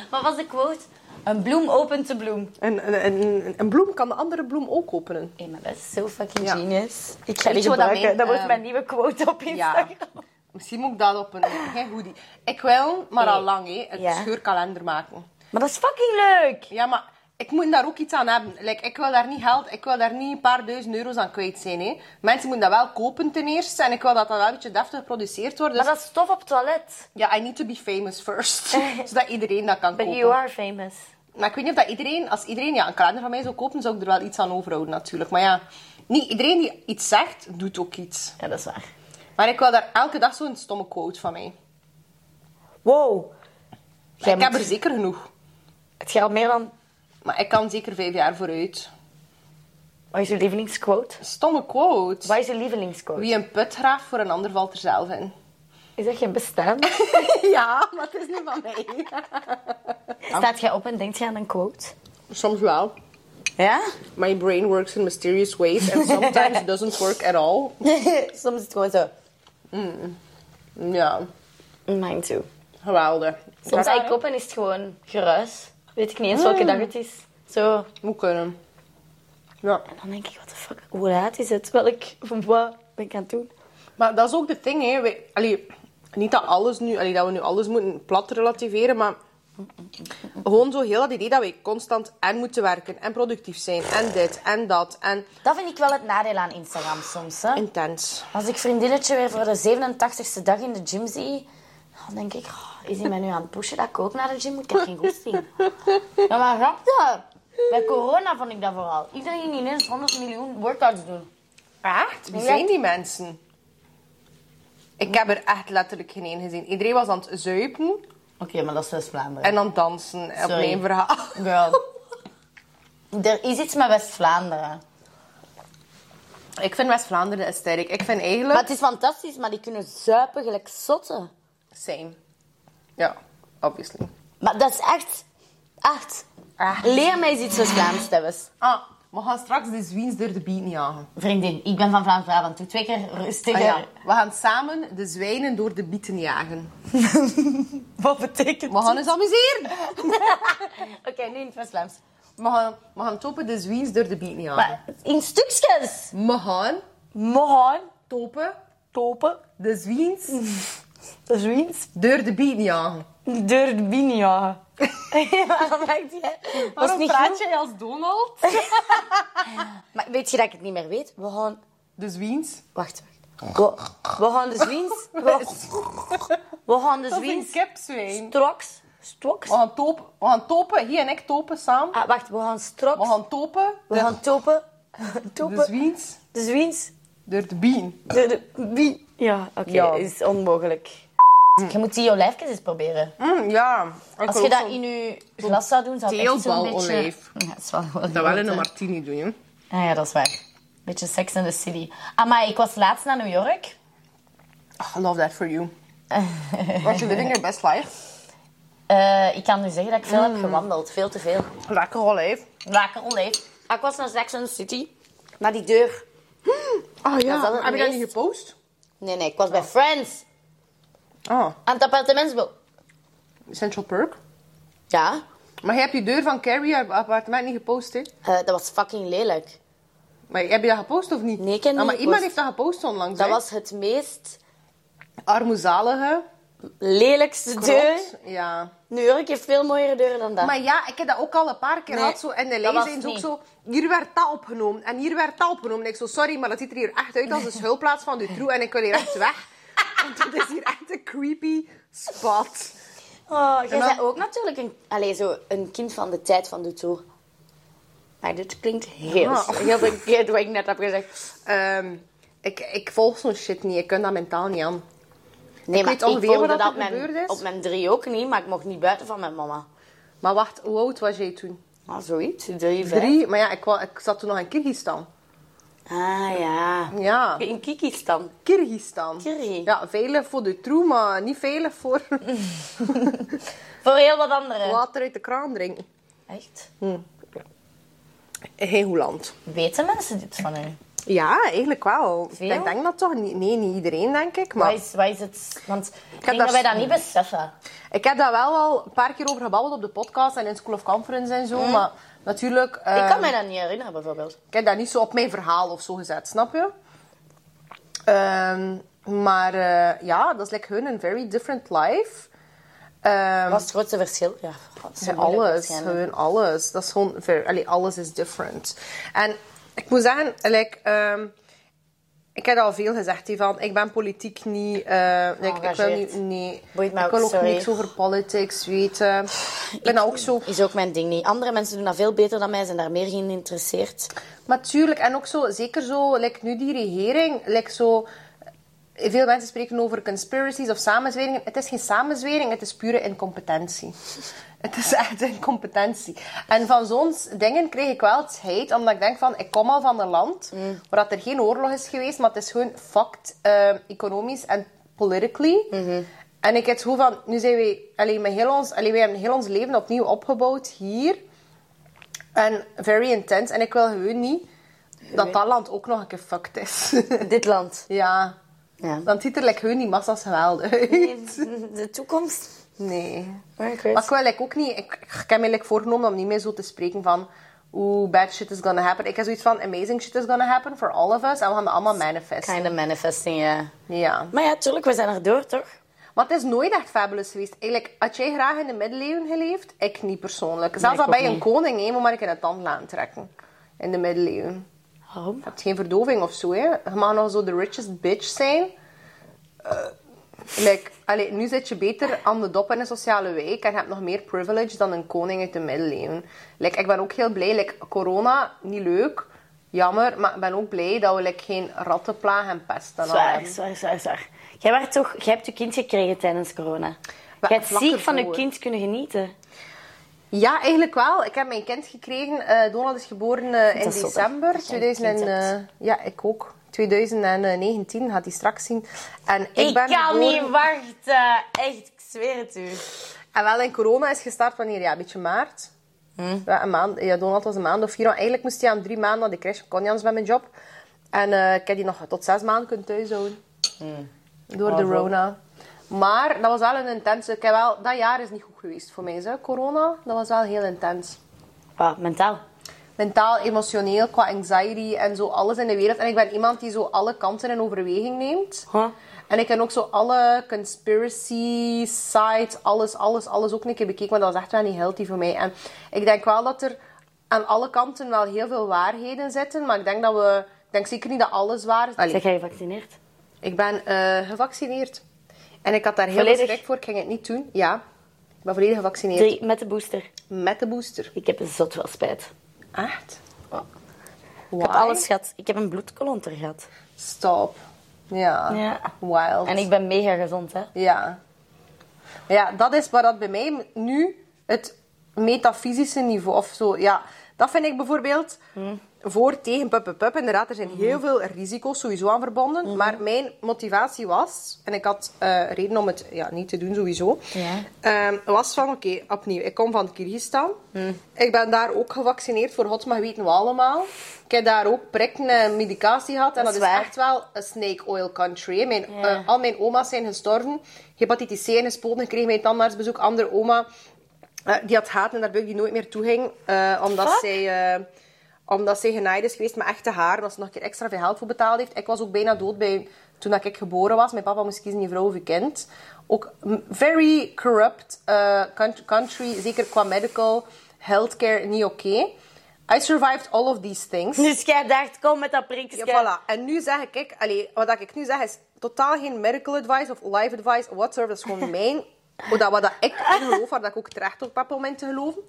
C: Wat was de quote? Een bloem opent de bloem.
B: Een, een, een, een bloem kan de andere bloem ook openen.
C: Hé, maar dat is zo fucking
B: Ja.
C: genius. Ik ga
B: Weet
C: die
B: je wat dat
C: gebruiken.
B: mijn,
C: Dat wordt
B: ehm,
C: mijn nieuwe quote op
B: [LAUGHS]
C: Instagram.
B: Misschien moet ik dat op een... Geen goedie. Ik wil, maar al
C: Nee.
B: lang, hè, een
C: Ja.
B: scheurkalender maken.
C: Maar dat is fucking leuk.
B: Ja, maar ik moet daar ook iets aan hebben. Like, ik wil daar niet geld, ik wil daar niet een paar duizend euro's aan kwijt zijn. Hè. Mensen moeten dat wel kopen ten eerste. En ik wil dat dat wel een beetje deftig geproduceerd wordt. Dus
C: Maar dat is tof op het toilet.
B: ja, I need to be famous
C: [LAUGHS]
B: first. zodat iedereen dat kan
C: But
B: kopen.
C: you are famous.
B: Maar ik weet niet of dat iedereen, als iedereen ja, een kalender van mij zou kopen, zou ik er wel iets aan overhouden natuurlijk. Maar ja, niet iedereen die iets zegt, doet ook iets.
C: Ja, dat is waar.
B: Maar ik wil daar elke dag zo'n stomme quote van mij.
C: Wow. Jij
B: ik heb
C: moet-
B: er zeker genoeg.
C: Het gaat al meer dan...
B: Maar ik kan zeker vijf jaar vooruit.
C: Wat is je lievelingsquote?
B: Stomme quote.
C: Wat is je lievelingsquote?
B: Wie een put graaft voor een ander valt er zelf in.
C: Is dat geen [LAUGHS] bestaan?
B: ja, maar het is niet van mij.
C: Staat jij op en denkt jij aan een quote?
B: Soms wel.
C: Ja?
B: My brain works in mysterious ways and sometimes [LAUGHS] it doesn't work at all.
C: [LAUGHS] Soms is het gewoon zo...
B: Ja,
C: Mine [LAUGHS] too.
B: geweldig.
C: Soms
B: Ja,
C: sta Dus ik op en is het gewoon geruis. Weet ik niet eens welke dag het is. Zo.
B: Moet kunnen. Ja.
C: En dan denk ik, wat de fuck, hoe laat is het? Welk, wat ben ik aan het doen?
B: Maar dat is ook de ding, hè. Wij- allee, niet dat alles nu, allee, dat we nu alles moeten plat relativeren, maar Gewoon zo heel dat idee dat we constant en moeten werken en productief zijn en dit en dat en
C: Dat vind ik wel het nadeel aan Instagram soms. Hè.
B: intens. [LAUGHS]
C: Als ik vriendinnetje weer voor de 87ste dag in de gym zie, dan denk ik, "Oh, is hij mij nu aan het pushen dat ik ook naar de gym moet? Ik heb geen [LAUGHS] goesting. Ja, maar grap dat. Bij corona vond ik dat vooral. Iedereen ging ineens 100 miljoen workouts doen.
B: Echt? Wie zijn die mensen? Ik heb er echt letterlijk geen één gezien. Iedereen was aan het zuipen
C: Oké, maar dat is West-Vlaanderen.
B: en aan het dansen op
C: Sorry.
B: mijn
C: [LAUGHS]
B: verhaal.
C: Girl. Er is iets met West-Vlaanderen.
B: Ik vind West-Vlaanderen een sterk. Ik vind eigenlijk...
C: Maar het is fantastisch, maar die kunnen zuipen gelijk zotten.
B: Same. Ja, obviously.
C: Maar dat is echt... Echt.
B: Echt.
C: Leer mij eens iets West-Vlaams, Tevens.
B: Ah, we gaan straks de Zwiens door de biet niet jagen.
C: Vriendin, ik ben van Vlaams-Brabant. Doe twee keer rustiger.
B: Ah ja, we gaan samen de zwijnen door de bieten
C: [LAUGHS]
B: jagen.
C: Wat betekent
B: We gaan eens amuseren.
C: [LAUGHS] Oké, nu in het West-Vlaams.
B: We gaan, we gaan topen de zwiens door de bieten jagen.
C: Maar in stukjes.
B: We gaan
C: Mohan,
B: topen
C: topen,
B: de zwiens
C: dat is wiens.
B: door de bieten jagen.
C: Deur de binia. Waarom maakt jij? Was niet goed?
B: jij als Donald?
C: Maar weet je dat ik het niet meer weet? We gaan...
B: De zwiens.
C: Wacht, wacht. We, we gaan de zwiens... [LAUGHS] We, we gaan de
B: Dat is een
C: zwiens...
B: kipzwijn.
C: Stroks. Stroks.
B: We gaan topen, we gaan topen, hier en ik topen samen.
C: Ah, wacht, we gaan
B: We
C: stroks.
B: gaan topen
C: We
B: de,
C: gaan topen.
B: de
C: Topen.
B: zwiens
C: De zwiens.
B: door de bieten.
C: De, de, wie? Ja, oké,
B: Ja.
C: is onmogelijk. Je moet die olijfjes eens proberen.
B: Mm, ja.
C: Als je dat in je glas zou doen, zou het echt zo'n beetje...
B: Teelbalolijf.
C: Ja, dat is wel heel
B: Dat wel in
C: groot,
B: een
C: hè.
B: martini doen, joh.
C: Ah ja, dat is waar. Beetje Sex in the City. Ah, maar ik was laatst naar New [LAUGHS] York.
B: Ah, love that for you. Was je living your best life?
C: Eh, ik kan nu zeggen dat ik veel heb gewandeld. Veel te veel.
B: Lekker olijf.
C: Lekker onleef. Ah, ik was naar Sex in the City. Maar die deur...
B: Ah
C: Dat is
B: ja,
C: altijd
B: heb je dat
C: meest-
B: niet gepost?
C: Nee, nee, ik was bij Friends.
B: Ah,
C: Aan het appartementsbureau.
B: Central Perk.
C: Ja,
B: Maar je hebt je deur van Carrie, haar appartement, niet gepost, hè?
C: eh, dat was fucking lelijk.
B: Maar heb je dat gepost of niet?
C: Nee, ik heb
B: Ah,
C: niet
B: Maar iemand heeft
C: gepost.
B: dat gepost onlangs,
C: Dat
B: hè?
C: was het meest
B: Armoezalige.
C: lelijkste deur.
B: krot. Ja.
C: New York heeft veel mooiere deuren dan dat.
B: Maar ja, ik heb dat ook al een paar keer
C: Nee,
B: gehad. Zo, en de
C: dat was
B: lezen is ook
C: niet.
B: zo... Hier werd dat opgenomen. En hier werd dat opgenomen. En ik zo, sorry, maar dat ziet er hier echt uit als een schuilplaats van de troe. En ik wil hier echt weg.
C: [LAUGHS]
B: Want dat is hier echt een creepy spot.
C: Oh, jij
B: dan-
C: bent ook natuurlijk een, allez, zo een kind van de tijd van de tour. Maar dit klinkt heel,
B: Ah.
C: heel verkeerd wat ik net heb gezegd.
B: Ehm, ik, ik volg zo'n shit niet. Ik kan dat mentaal niet aan.
C: Nee, maar
B: weet ongeveer
C: ik voelde
B: wat
C: dat,
B: er
C: op mijn-
B: gebeurd is.
C: op mijn drie ook niet, maar ik mocht niet buiten van mijn mama.
B: Maar wacht, hoe oud was jij toen?
C: Ah, zoiets, drie, vijf.
B: Drie. Maar ja, ik, wa- ik zat toen nog in Kyrgyzstan.
C: Ah, ja.
B: Ja.
C: In Kyrgyzstan.
B: Kyrgyzstan.
C: Kyrgyz.
B: Ja, veilig voor de troe, maar niet veilig voor
C: Voor heel wat anderen.
B: water uit de kraan drinken.
C: Echt?
B: Geen Hoeland.
C: Weten mensen dit van u?
B: Ja, eigenlijk wel.
C: Veel?
B: Ik denk dat toch niet. Nee, niet iedereen, denk ik. Maar
C: Wat is, wat is het? Want ik
B: daar
C: denk dat wij dat
B: s-
C: niet beseffen.
B: ik heb daar wel al een paar keer over gebabbeld op de podcast en in School of Conference en zo. Maar natuurlijk, eh,
C: Mm. ik kan mij dat niet herinneren, bijvoorbeeld.
B: ik heb dat niet zo op mijn verhaal of zo gezet, snap je? Ehm, maar eh, ja, dat is like hun een very different life. Ehm,
C: Wat is het grootste verschil? Ja, dat is zo
B: Ja,
C: moeilijk
B: alles,
C: waarschijnlijk.
B: gewoon alles. Dat is gewoon, ver, allee, alles is different. En ik moet zeggen, like, ehm, ik heb al veel gezegd hiervan. Ik ben politiek niet. eh, like, ik wil
C: Geëngageerd.
B: niet, nee.
C: Boeit mij
B: ik
C: ook,
B: wil ook
C: sorry.
B: niks over politics weten. Ik ben dat ook zo.
C: Is ook mijn ding niet. Andere mensen doen dat veel beter dan mij, zijn daar meer geïnteresseerd.
B: Maar tuurlijk, en ook zo, zeker zo, like, nu die regering, like, zo. Veel mensen spreken over conspiracies of samenzweringen. Het is geen samenzwering, het is pure incompetentie. [LAUGHS] Het is echt incompetentie. En van zo'n s- dingen kreeg ik wel het hate, omdat ik denk van, ik kom al van een land waar dat er geen oorlog is geweest, maar het is gewoon fucked eh, economisch en politically. En ik heb het gevoel van, nu zijn wij, allee, met heel ons, allee, wij hebben heel ons leven opnieuw opgebouwd hier. En very intense. En ik wil gewoon niet dat dat land ook nog een keer fucked is. [LAUGHS]
C: Dit land.
B: ja.
C: Ja.
B: Dan ziet er like, gewoon die massa's geweld uit.
C: De toekomst.
B: Nee.
C: Oh, Ik weet
B: Maar ik wil like, ook niet... Ik, ik heb me like, voorgenomen om niet meer zo te spreken van... Oeh, bad shit is gonna happen. Ik heb zoiets van... Amazing shit is gonna happen for all of us. En we gaan dat allemaal manifesten.
C: Kind of manifesting, ja.
B: Ja.
A: Ah
C: Maar ja, tuurlijk, we zijn er door, toch?
B: Maar het is nooit echt fabulous geweest. Eigenlijk, had jij graag in de middeleeuwen geleefd? Ik niet persoonlijk. Zelfs
A: ik
B: al bij
A: ook
B: een
A: niet.
B: koning, hè, moet maar ik in het tand laten trekken. In de middeleeuwen.
A: Waarom?
B: Je hebt geen verdoving of zo, hè. Je mag nog zo de richest bitch zijn. Eh, like, allee, nu zit je beter aan de dop in een sociale wijk en je hebt nog meer privilege dan een koning uit de middeleeuwen. Like, ik ben ook heel blij, like, corona, niet leuk, jammer, maar ik ben ook blij dat we like, geen rattenplaag en pest en al
A: Zwaar,
B: hebben.
A: zwaar, zwaar, zwaar. Jij, werd toch, jij hebt je kind gekregen tijdens corona.
B: Maar
A: Jij hebt
B: vlak
A: ziek van je
B: ervoor.
A: kind kunnen genieten.
B: Ja, eigenlijk wel. Ik heb mijn kind gekregen. Eh, Donald is geboren eh, in
A: Dat is zot, hè?
B: december
A: Dat jij een
B: 2000 en,
A: kind
B: eh, ja, ik ook. 2019 gaat hij straks zien. En ik, ben
A: kan
B: geboren...
A: niet wachten. Echt, ik zweer het u.
B: En wel, in corona is gestart wanneer? Ja, een beetje maart. Ja, een maand. Ja, Donald was een maand of vier. Want Eigenlijk moest hij aan drie maanden naar de crash. Ik kon niet anders met mijn job. En eh, ik heb die nog tot zes maanden kunnen thuishouden. Door de Rona. Maar dat was wel een intense... Ik heb wel, dat jaar is niet goed geweest voor mij. Zo. Corona, dat was wel heel intens.
A: Wauw, mentaal.
B: Mentaal, emotioneel, qua anxiety en zo. Alles in de wereld. En ik ben iemand die zo alle kanten in overweging neemt.
A: Huh?
B: En ik heb ook zo alle conspiracy sites, alles, alles, alles ook een keer bekeken. Maar dat was echt wel niet healthy voor mij. En ik denk wel dat er aan alle kanten wel heel veel waarheden zitten. Maar ik denk dat we... Ik denk zeker niet dat alles waar is. Allee,
A: Zeg jij gevaccineerd?
B: ik ben eh, gevaccineerd. En ik had daar heel
A: Volledig?
B: veel schrik voor. Ik ging het niet doen. Ja. Ik ben volledig gevaccineerd.
A: Drie, met de booster.
B: Met de booster.
A: Ik heb zot wel spijt.
B: Echt?
A: Ik heb alles gehad. Ik heb een bloedkolonter gehad.
B: Stop. Ja.
A: Ja.
B: Wild.
A: En ik ben mega gezond, hè.
B: Ja. Ja, dat is waar dat bij mij nu het metafysische niveau of zo. Ja, dat vind ik bijvoorbeeld voor, tegen, pup, pup, pup. Inderdaad, er zijn heel veel risico's sowieso aan verbonden. Maar mijn motivatie was, en ik had eh, reden om het ja, niet te doen sowieso, ehm, was van oké, opnieuw, ik kom van Kyrgyzstan. Ik ben daar ook gevaccineerd voor god mag weten wat allemaal. Ik heb daar ook prikken en medicatie gehad. En dat,
A: is
B: is
A: waar.
B: echt wel een snake oil country. hè. Mijn,
A: Ja.
B: eh, al mijn oma's zijn gestorven. Hepatitis C en gespoten. Ik kreeg mijn tandartsbezoek. Andere oma eh, die had haat en daar buik die nooit meer toe ging. eh, omdat,
A: Fuck.
B: zij, eh, omdat zij genaaid is geweest met echte haar. Dat ze nog een keer extra veel geld voor betaald heeft. Ik was ook bijna dood bij, toen dat ik geboren was. Mijn papa moest kiezen, die vrouw of je kind. Ook een very corrupt eh, country, country. Zeker qua medical, healthcare, niet oké. I survived all of these things.
A: Dus jij dacht, kom met dat prikje.
B: Ja, voilà. En nu zeg ik, ik allee, wat ik nu zeg is totaal geen medical advice of life advice, whatsoever. Dat is gewoon mijn, [LAUGHS] hoe dat, wat dat ik in geloof, waar dat ik ook terecht op heb om in te geloven.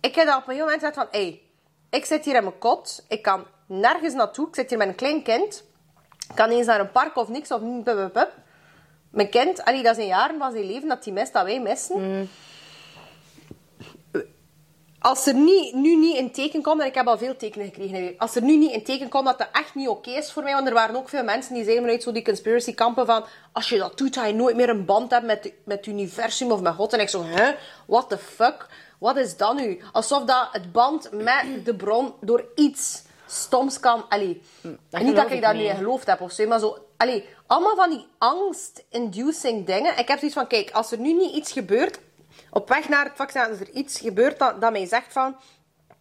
B: Ik heb dat op een heel moment gezegd van, hey, ik zit hier in mijn kot, ik kan nergens naartoe, ik zit hier met een klein kind, ik kan niet eens naar een park of niks of mm, pup, pup, pup. Mijn kind, allee, dat zijn jaren van zijn leven dat hij mist, dat wij missen als er niet, nu niet een teken komt, en ik heb al veel tekenen gekregen, hè, als er nu niet een teken komt dat dat echt niet oké is voor mij, want er waren ook veel mensen die zeiden vanuit zo die conspiracy kampen van, als je dat doet, ga je nooit meer een band hebben met, met het universum of met God. En ik zo, hè, what the fuck? Wat is dat nu? Alsof dat het band met de bron door iets stoms kan... Allee, niet dat
A: geloof
B: ik
A: ik
B: daar nu
A: niet.
B: in geloofd heb of zo, maar zo... Allee, allemaal van die angst-inducing dingen. Ik heb zoiets van, kijk, als er nu niet iets gebeurt, op weg naar het vaccin, als er iets gebeurt dat, dat mij zegt van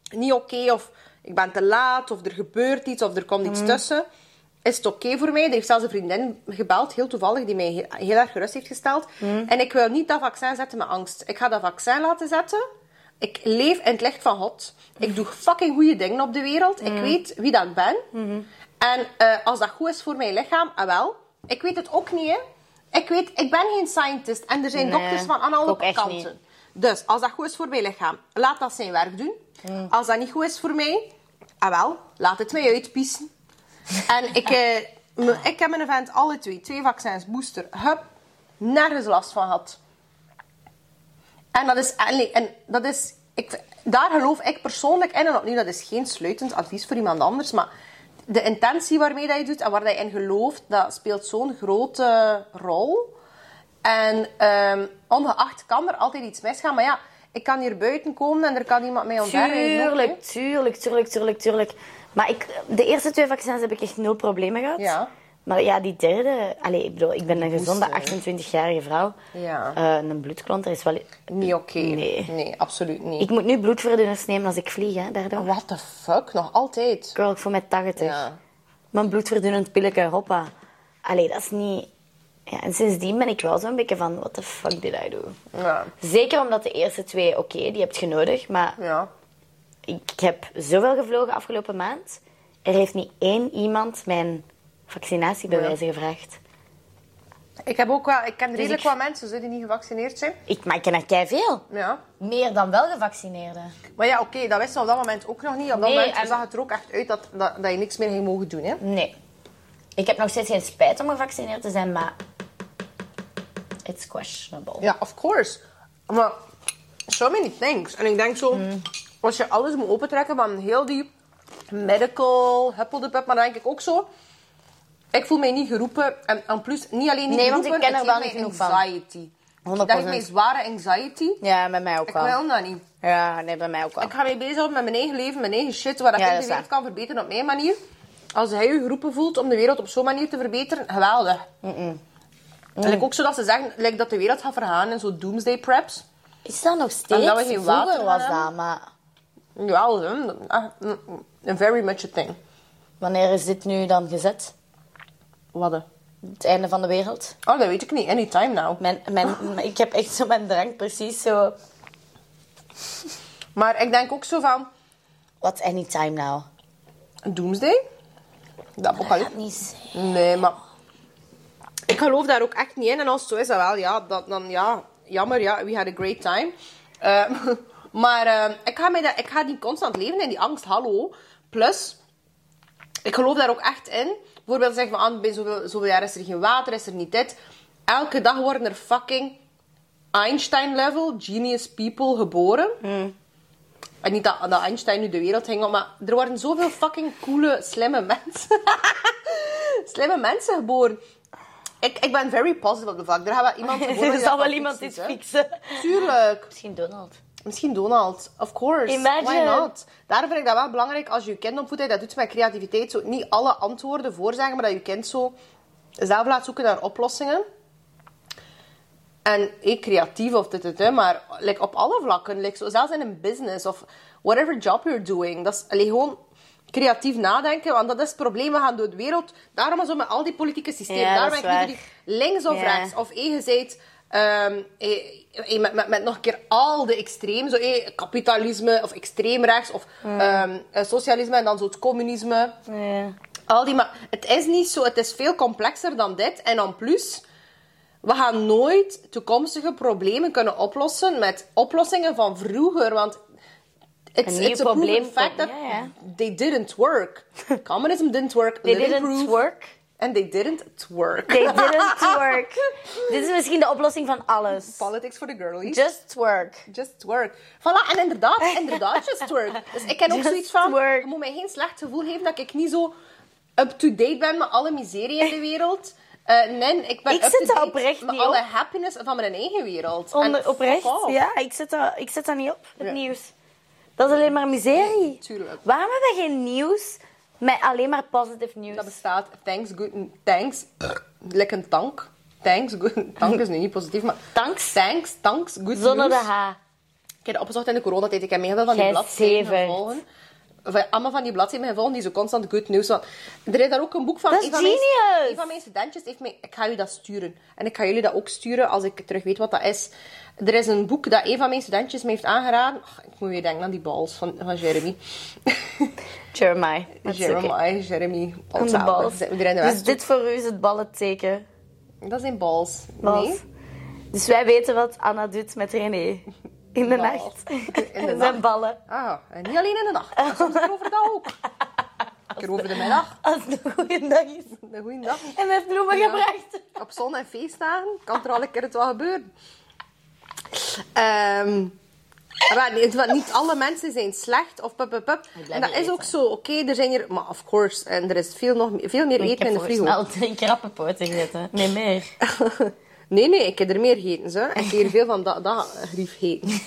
B: niet oké, of ik ben te laat, of er gebeurt iets, of er komt
A: Mhm.
B: iets tussen, is het oké voor mij. Er heeft zelfs een vriendin gebeld, heel toevallig, die mij heel, heel erg gerust heeft gesteld.
A: Mhm.
B: En ik wil niet dat vaccin zetten met angst. Ik ga dat vaccin laten zetten. Ik leef in het licht van God. Ik doe fucking goede dingen op de wereld.
A: Mhm.
B: Ik weet wie dat ik ben. En eh, als dat goed is voor mijn lichaam, ah wel. Ik weet het ook niet, hè. Ik weet, ik ben geen scientist. En er zijn
A: Nee,
B: dokters van aan
A: ook
B: alle
A: echt
B: kanten.
A: niet.
B: Dus als dat goed is voor mijn lichaam, laat dat zijn werk doen. Als dat niet goed is voor mij, ah wel, laat het mij uitpissen. en ik, eh, m- ik heb mijn event alle twee, twee vaccins, booster, hup, nergens last van gehad. En dat is, allee, en dat is ik, daar geloof ik persoonlijk in. En opnieuw, dat is geen sluitend advies voor iemand anders. Maar de intentie waarmee dat je doet en waar dat je in gelooft, dat speelt zo'n grote rol. En ehm, ongeacht kan er altijd iets misgaan. Maar ja, ik kan hier buiten komen en er kan iemand mij ontdekken.
A: Tuurlijk, tuurlijk, tuurlijk, tuurlijk, tuurlijk. Maar ik, de eerste twee vaccins heb ik echt nul problemen gehad.
B: Ja.
A: Maar ja, die derde... Allee, ik bedoel, ik ben een gezonde
B: Booster, hè?
A: 28-jarige vrouw.
B: Ja.
A: Eh, een bloedklonter is wel...
B: Niet oké.
A: Nee.
B: absoluut niet.
A: Ik moet nu bloedverdunners nemen als ik vlieg, hè, daardoor.
B: What the fuck? Nog altijd?
A: Girl, ik voel mij 80.
B: Ja.
A: Mijn bloedverdunnend pilletje, hoppa. Allee, dat is niet... Ja, en sindsdien ben ik wel zo'n beetje van, what the fuck did I do?
B: Ja.
A: Zeker omdat de eerste twee, oké, die heb je nodig. Maar
B: ja.
A: ik heb zoveel gevlogen afgelopen maand. Er heeft niet één iemand mijn vaccinatiebewijzen gevraagd.
B: Ik heb ook wel... Ik ken redelijk
A: Dus ik-
B: wat mensen zo die niet gevaccineerd zijn.
A: Ik, maar ik ken er keiveel.
B: Ja.
A: Meer dan wel gevaccineerden.
B: Maar ja, oké, dat wisten we op dat moment ook nog niet. Op dat
A: Nee,
B: moment
A: en-
B: zag het er ook echt uit dat, dat, dat je niks meer ging mogen doen, hè?
A: Nee. Ik heb nog steeds geen spijt om gevaccineerd te zijn, maar... It's questionable.
B: Ja, of course. Maar so many things. En ik denk zo, als je alles moet opentrekken van heel die medical huppeldepep, maar dan denk ik ook zo... Ik voel mij niet geroepen. En, en plus, niet alleen niet
A: Nee, want
B: geroepen,
A: ik ken er
B: het
A: wel
B: geeft mij
A: niet genoeg van.
B: anxiety.
A: 100%.
B: Dat is mijn zware anxiety.
A: Ja, met mij ook
B: Ik wil dat niet.
A: Ja, nee, bij mij ook wel.
B: Ik ga mee bezig met mijn eigen leven, mijn eigen shit, waar dat
A: Ja,
B: ik
A: dat
B: de
A: is
B: wereld kan verbeteren op mijn manier. Als hij je geroepen voelt om de wereld op zo'n manier te verbeteren, geweldig. En ik ook zo dat ze zeggen like dat de wereld gaat vergaan en zo doomsday preps.
A: Is dat nog steeds?
B: Omdat we geen water
A: Vroeger was
B: hadden.
A: dat, maar...
B: Jawel, hè. Ah, mm, mm, very much a thing.
A: Wanneer is dit nu dan gezet?
B: Wat? hè?
A: Het einde van de wereld?
B: Oh, dat weet ik niet. Anytime now.
A: Mijn, mijn, ik heb echt zo mijn drang precies zo...
B: Maar ik denk ook zo van,
A: What's anytime now?
B: doomsday? Dat
A: Dat gaat
B: apocalypse.
A: niet zijn.
B: Nee, maar... Ik geloof daar ook echt niet in. En als het zo is, dan wel, ja, dat, dan ja. Jammer, ja, we had a great time. Ehm, [LAUGHS] maar ehm, ik, ga mij dat, ik ga niet constant leven in die angst, hallo. Plus, ik geloof daar ook echt in. Bijvoorbeeld zeggen van, ah, bij zoveel, zoveel jaar is er geen water, is er niet dit. Elke dag worden er fucking Einstein-level genius people geboren.
A: Mm.
B: En niet dat, dat Einstein nu de wereld ging op, maar er worden zoveel fucking coole, slimme mensen. [LAUGHS] slimme mensen geboren. Ik, ik ben very positive op de vlak. Er gaat wel
A: [LAUGHS]
B: iemand geboren
A: [LAUGHS] Er
B: die dat
A: zal wel
B: kan
A: iemand dit
B: fixen, hè.
A: fixen.
B: Tuurlijk.
A: Misschien Donald.
B: Misschien Donald, of course.
A: Imagine.
B: Why not? Daarom vind ik dat wel belangrijk als je je kind opvoedt. dat je Dat doet met creativiteit. Zo, niet alle antwoorden voorzeggen, maar dat je kind zo zelf laat zoeken naar oplossingen. En ik creatief of dit, dit, dit, maar like, op alle vlakken. Like, zo, zelfs in een business of whatever job you're doing. Dat is allee, gewoon creatief nadenken, want dat is het probleem. We gaan door de wereld. Daarom is het met al die politieke systemen.
A: Ja,
B: daarom
A: dat is
B: heb ik
A: waar.
B: iedereen links of
A: Ja.
B: rechts. Of één gezegd, ehm, eh, eh, met, met, met nog een keer al de extreem, zo eh, kapitalisme of extreem rechts of
A: Hmm.
B: ehm, eh, socialisme en dan zo het communisme.
A: Ja.
B: Al die, maar het is niet zo, het is veel complexer dan dit. En dan plus, we gaan nooit toekomstige problemen kunnen oplossen met oplossingen van vroeger, want it's,
A: Een nieuw
B: it's a proven
A: probleem
B: fact
A: komt-
B: that
A: ja, ja.
B: they didn't work. Communism didn't work,
A: [LAUGHS] They
B: living
A: didn't
B: proof,
A: work.
B: and they didn't work.
A: [LAUGHS] They didn't work. Dit is misschien de oplossing van alles.
B: [LAUGHS] Politics for the girlies.
A: Just work.
B: Just work. Voilà, en
A: [LAUGHS]
B: inderdaad, inderdaad, just work. Dus ik ken ook
A: Just
B: zoiets van,
A: work.
B: je moet mij geen slecht gevoel geven dat ik niet zo up-to-date ben met alle miserie
A: [LAUGHS]
B: in de wereld. Eh, nee, ik ben
A: Ik zit daar
B: up-to-date
A: oprecht
B: met
A: niet
B: alle
A: op.
B: happiness van mijn eigen wereld. En
A: Onder,
B: fuck
A: oprecht,
B: off.
A: ja. Ik zet, dat, ik zet dat niet op,
B: Oh.
A: het
B: Ja.
A: nieuws. Dat is alleen maar miserie.
B: Tuurlijk.
A: Waarom hebben we geen nieuws met alleen maar positief nieuws?
B: Dat bestaat, thanks, good, thanks, like een tank. Thanks, good, tank is nu niet positief, maar...
A: Thanks.
B: Thanks, thanks, good
A: Zonder de
B: news.
A: H.
B: Ik heb dat opgezocht in de coronatijd. Ik heb heel veel van die
A: Jij
B: bladzijden
A: zevert.
B: gevolgen. Van, eh, allemaal van die bladzijden gevolgen die zo constant good news. Want er is daar ook een boek van.
A: Dat is
B: een van mijn-
A: genius.
B: een van mijn studentjes heeft mij... Ik ga jullie dat sturen. En ik ga jullie dat ook sturen als ik terug weet wat dat is. Er is een boek dat een van mijn studentjes me heeft aangeraden. Ach, ik moet weer denken aan die balls van, van Jeremy.
A: Jeremiah. [LAUGHS] Dat is
B: Jeremy,
A: oké.
B: Jeremy.
A: Van de balls.
B: We zijn de
A: Dus
B: West.
A: dit voor u is het ballenteken.
B: Dat zijn balls.
A: Balls.
B: Nee?
A: Dus wij weten wat Anna doet met René. In de
B: Balls.
A: nacht.
B: In de
A: Zijn
B: nacht.
A: ballen.
B: Ah, en niet alleen in de nacht. maar Soms overdag
A: [LAUGHS]
B: ook. Een keer over de middag.
A: Als het een goede dag is.
B: Een goede dag.
A: En hij heeft bloemen
B: Ja.
A: gebracht.
B: Op zon- en feestdagen kan er al een keer het wel gebeuren. Ehm, maar niet, want niet alle mensen zijn slecht of pup, pup, pup. En dat
A: niet
B: is ook
A: eten.
B: zo. Oké, er zijn hier... Maar of course, en er is veel, nog, me- veel meer
A: Ik
B: eten
A: heb
B: in de
A: volgens
B: frigo.
A: mij al drie krappenpoten gegeten. Nee, meer.
B: [LAUGHS] Nee, nee, ik heb er meer gegeten. Zo. Ik heb hier veel van dat, dat grief gegeten.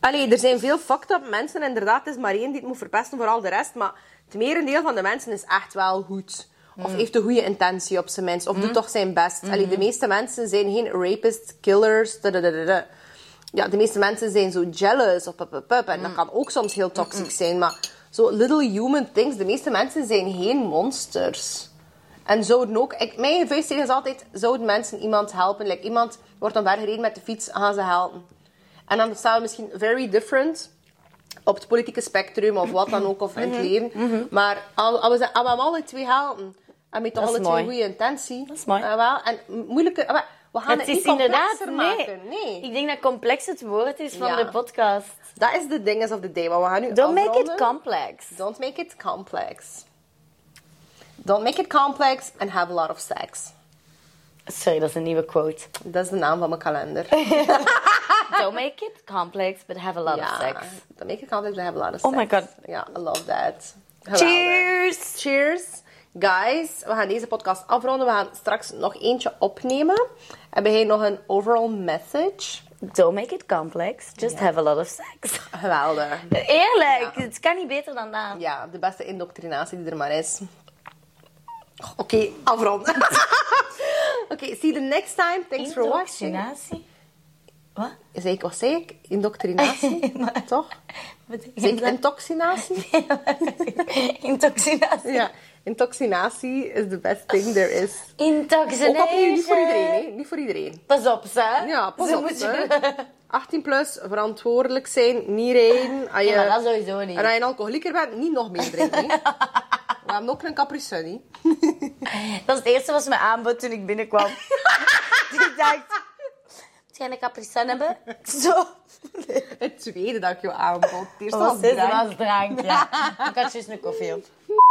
B: Allee, er zijn veel fucked up mensen. Inderdaad, het is maar één die het moet verpesten voor al de rest. Maar het merendeel van de mensen is echt wel goed. Of heeft een goede intentie op zijn minst. Of doet toch zijn best. Allee, de meeste mensen zijn geen rapists, killers. dadadadada. Ja, de meeste mensen zijn zo jealous. Of pup, pup, pup. En dat kan ook soms heel toxisch zijn. Maar zo little human things. De meeste mensen zijn geen monsters. En zouden ook... Ik, mijn vuistregel is altijd, zouden mensen iemand helpen? Like, iemand wordt omver gereden met de fiets, gaan ze helpen. En dan staan we misschien very different op het politieke spectrum of wat dan ook, of
A: Mhm.
B: in het leven. Maar al, al we zijn, al we hem alle twee helpen, en met
A: is
B: alle twee
A: mooi.
B: goede intentie...
A: Dat is mooi.
B: eh, wel, en m- moeilijke... eh, wel, we gaan het,
A: Het
B: niet
A: is inderdaad...
B: complexer
A: Nee.
B: maken. Nee.
A: Ik denk dat complex het woord is van
B: Ja.
A: de podcast.
B: Dat is de dinges of the day. Maar we gaan nu
A: Don't make it
B: afronden.
A: complex.
B: Don't make it complex. Don't make it complex and have a lot of sex.
A: Sorry, dat is een nieuwe quote.
B: Dat is de naam van mijn kalender.
A: Don't make it complex, but have a lot of sex.
B: Don't make it complex and have a lot of sex.
A: Oh my God.
B: Ja, I love that. Geweldig.
A: Cheers!
B: Cheers. Guys, we gaan deze podcast afronden. We gaan straks nog eentje opnemen. Hebben jij nog een overall message?
A: Don't make it complex, just have a lot of sex.
B: Geweldig.
A: [LAUGHS] Eerlijk, het kan niet beter dan dat.
B: Ja, de beste indoctrinatie die er maar is. Oké,
A: [LAUGHS]
B: afronden. Oké, see you next time. Thanks for watching.
A: Indoctrinatie?
B: [LAUGHS]
A: Wat?
B: Zeg ik, wat zei ik?
A: [LAUGHS]
B: Indoctrinatie?
A: Maar-
B: Toch? Zeg ik
A: Betekent dat? [LAUGHS]
B: intoxinatie?
A: Intoxinatie.
B: Ja. Intoxinatie is the best thing there is.
A: Intoxination.
B: Ook opnieuw, niet voor iedereen. Hè. Niet voor iedereen.
A: Pas op, ze.
B: Ja, pas
A: Ze
B: op.
A: moet
B: hè. [LAUGHS]
A: je-
B: 18 plus, verantwoordelijk zijn, niet rijden. Als je,
A: Ja, maar dat sowieso niet.
B: en als je een alcoholieker bent, niet nog meer drinken.
A: [LAUGHS]
B: hè. We hebben ook een Capri Sunny.
A: Dat is het eerste wat ze me aanbood toen ik binnenkwam.
B: [LAUGHS]
A: ik dacht... Moet jij een Capri Sun hebben? Zo.
B: Het tweede dat ik jou aanbod. Het eerste
A: Dat
B: was
A: was, dit
B: drank. [LAUGHS]
A: was drank, ja. Ik had juist een koffie op.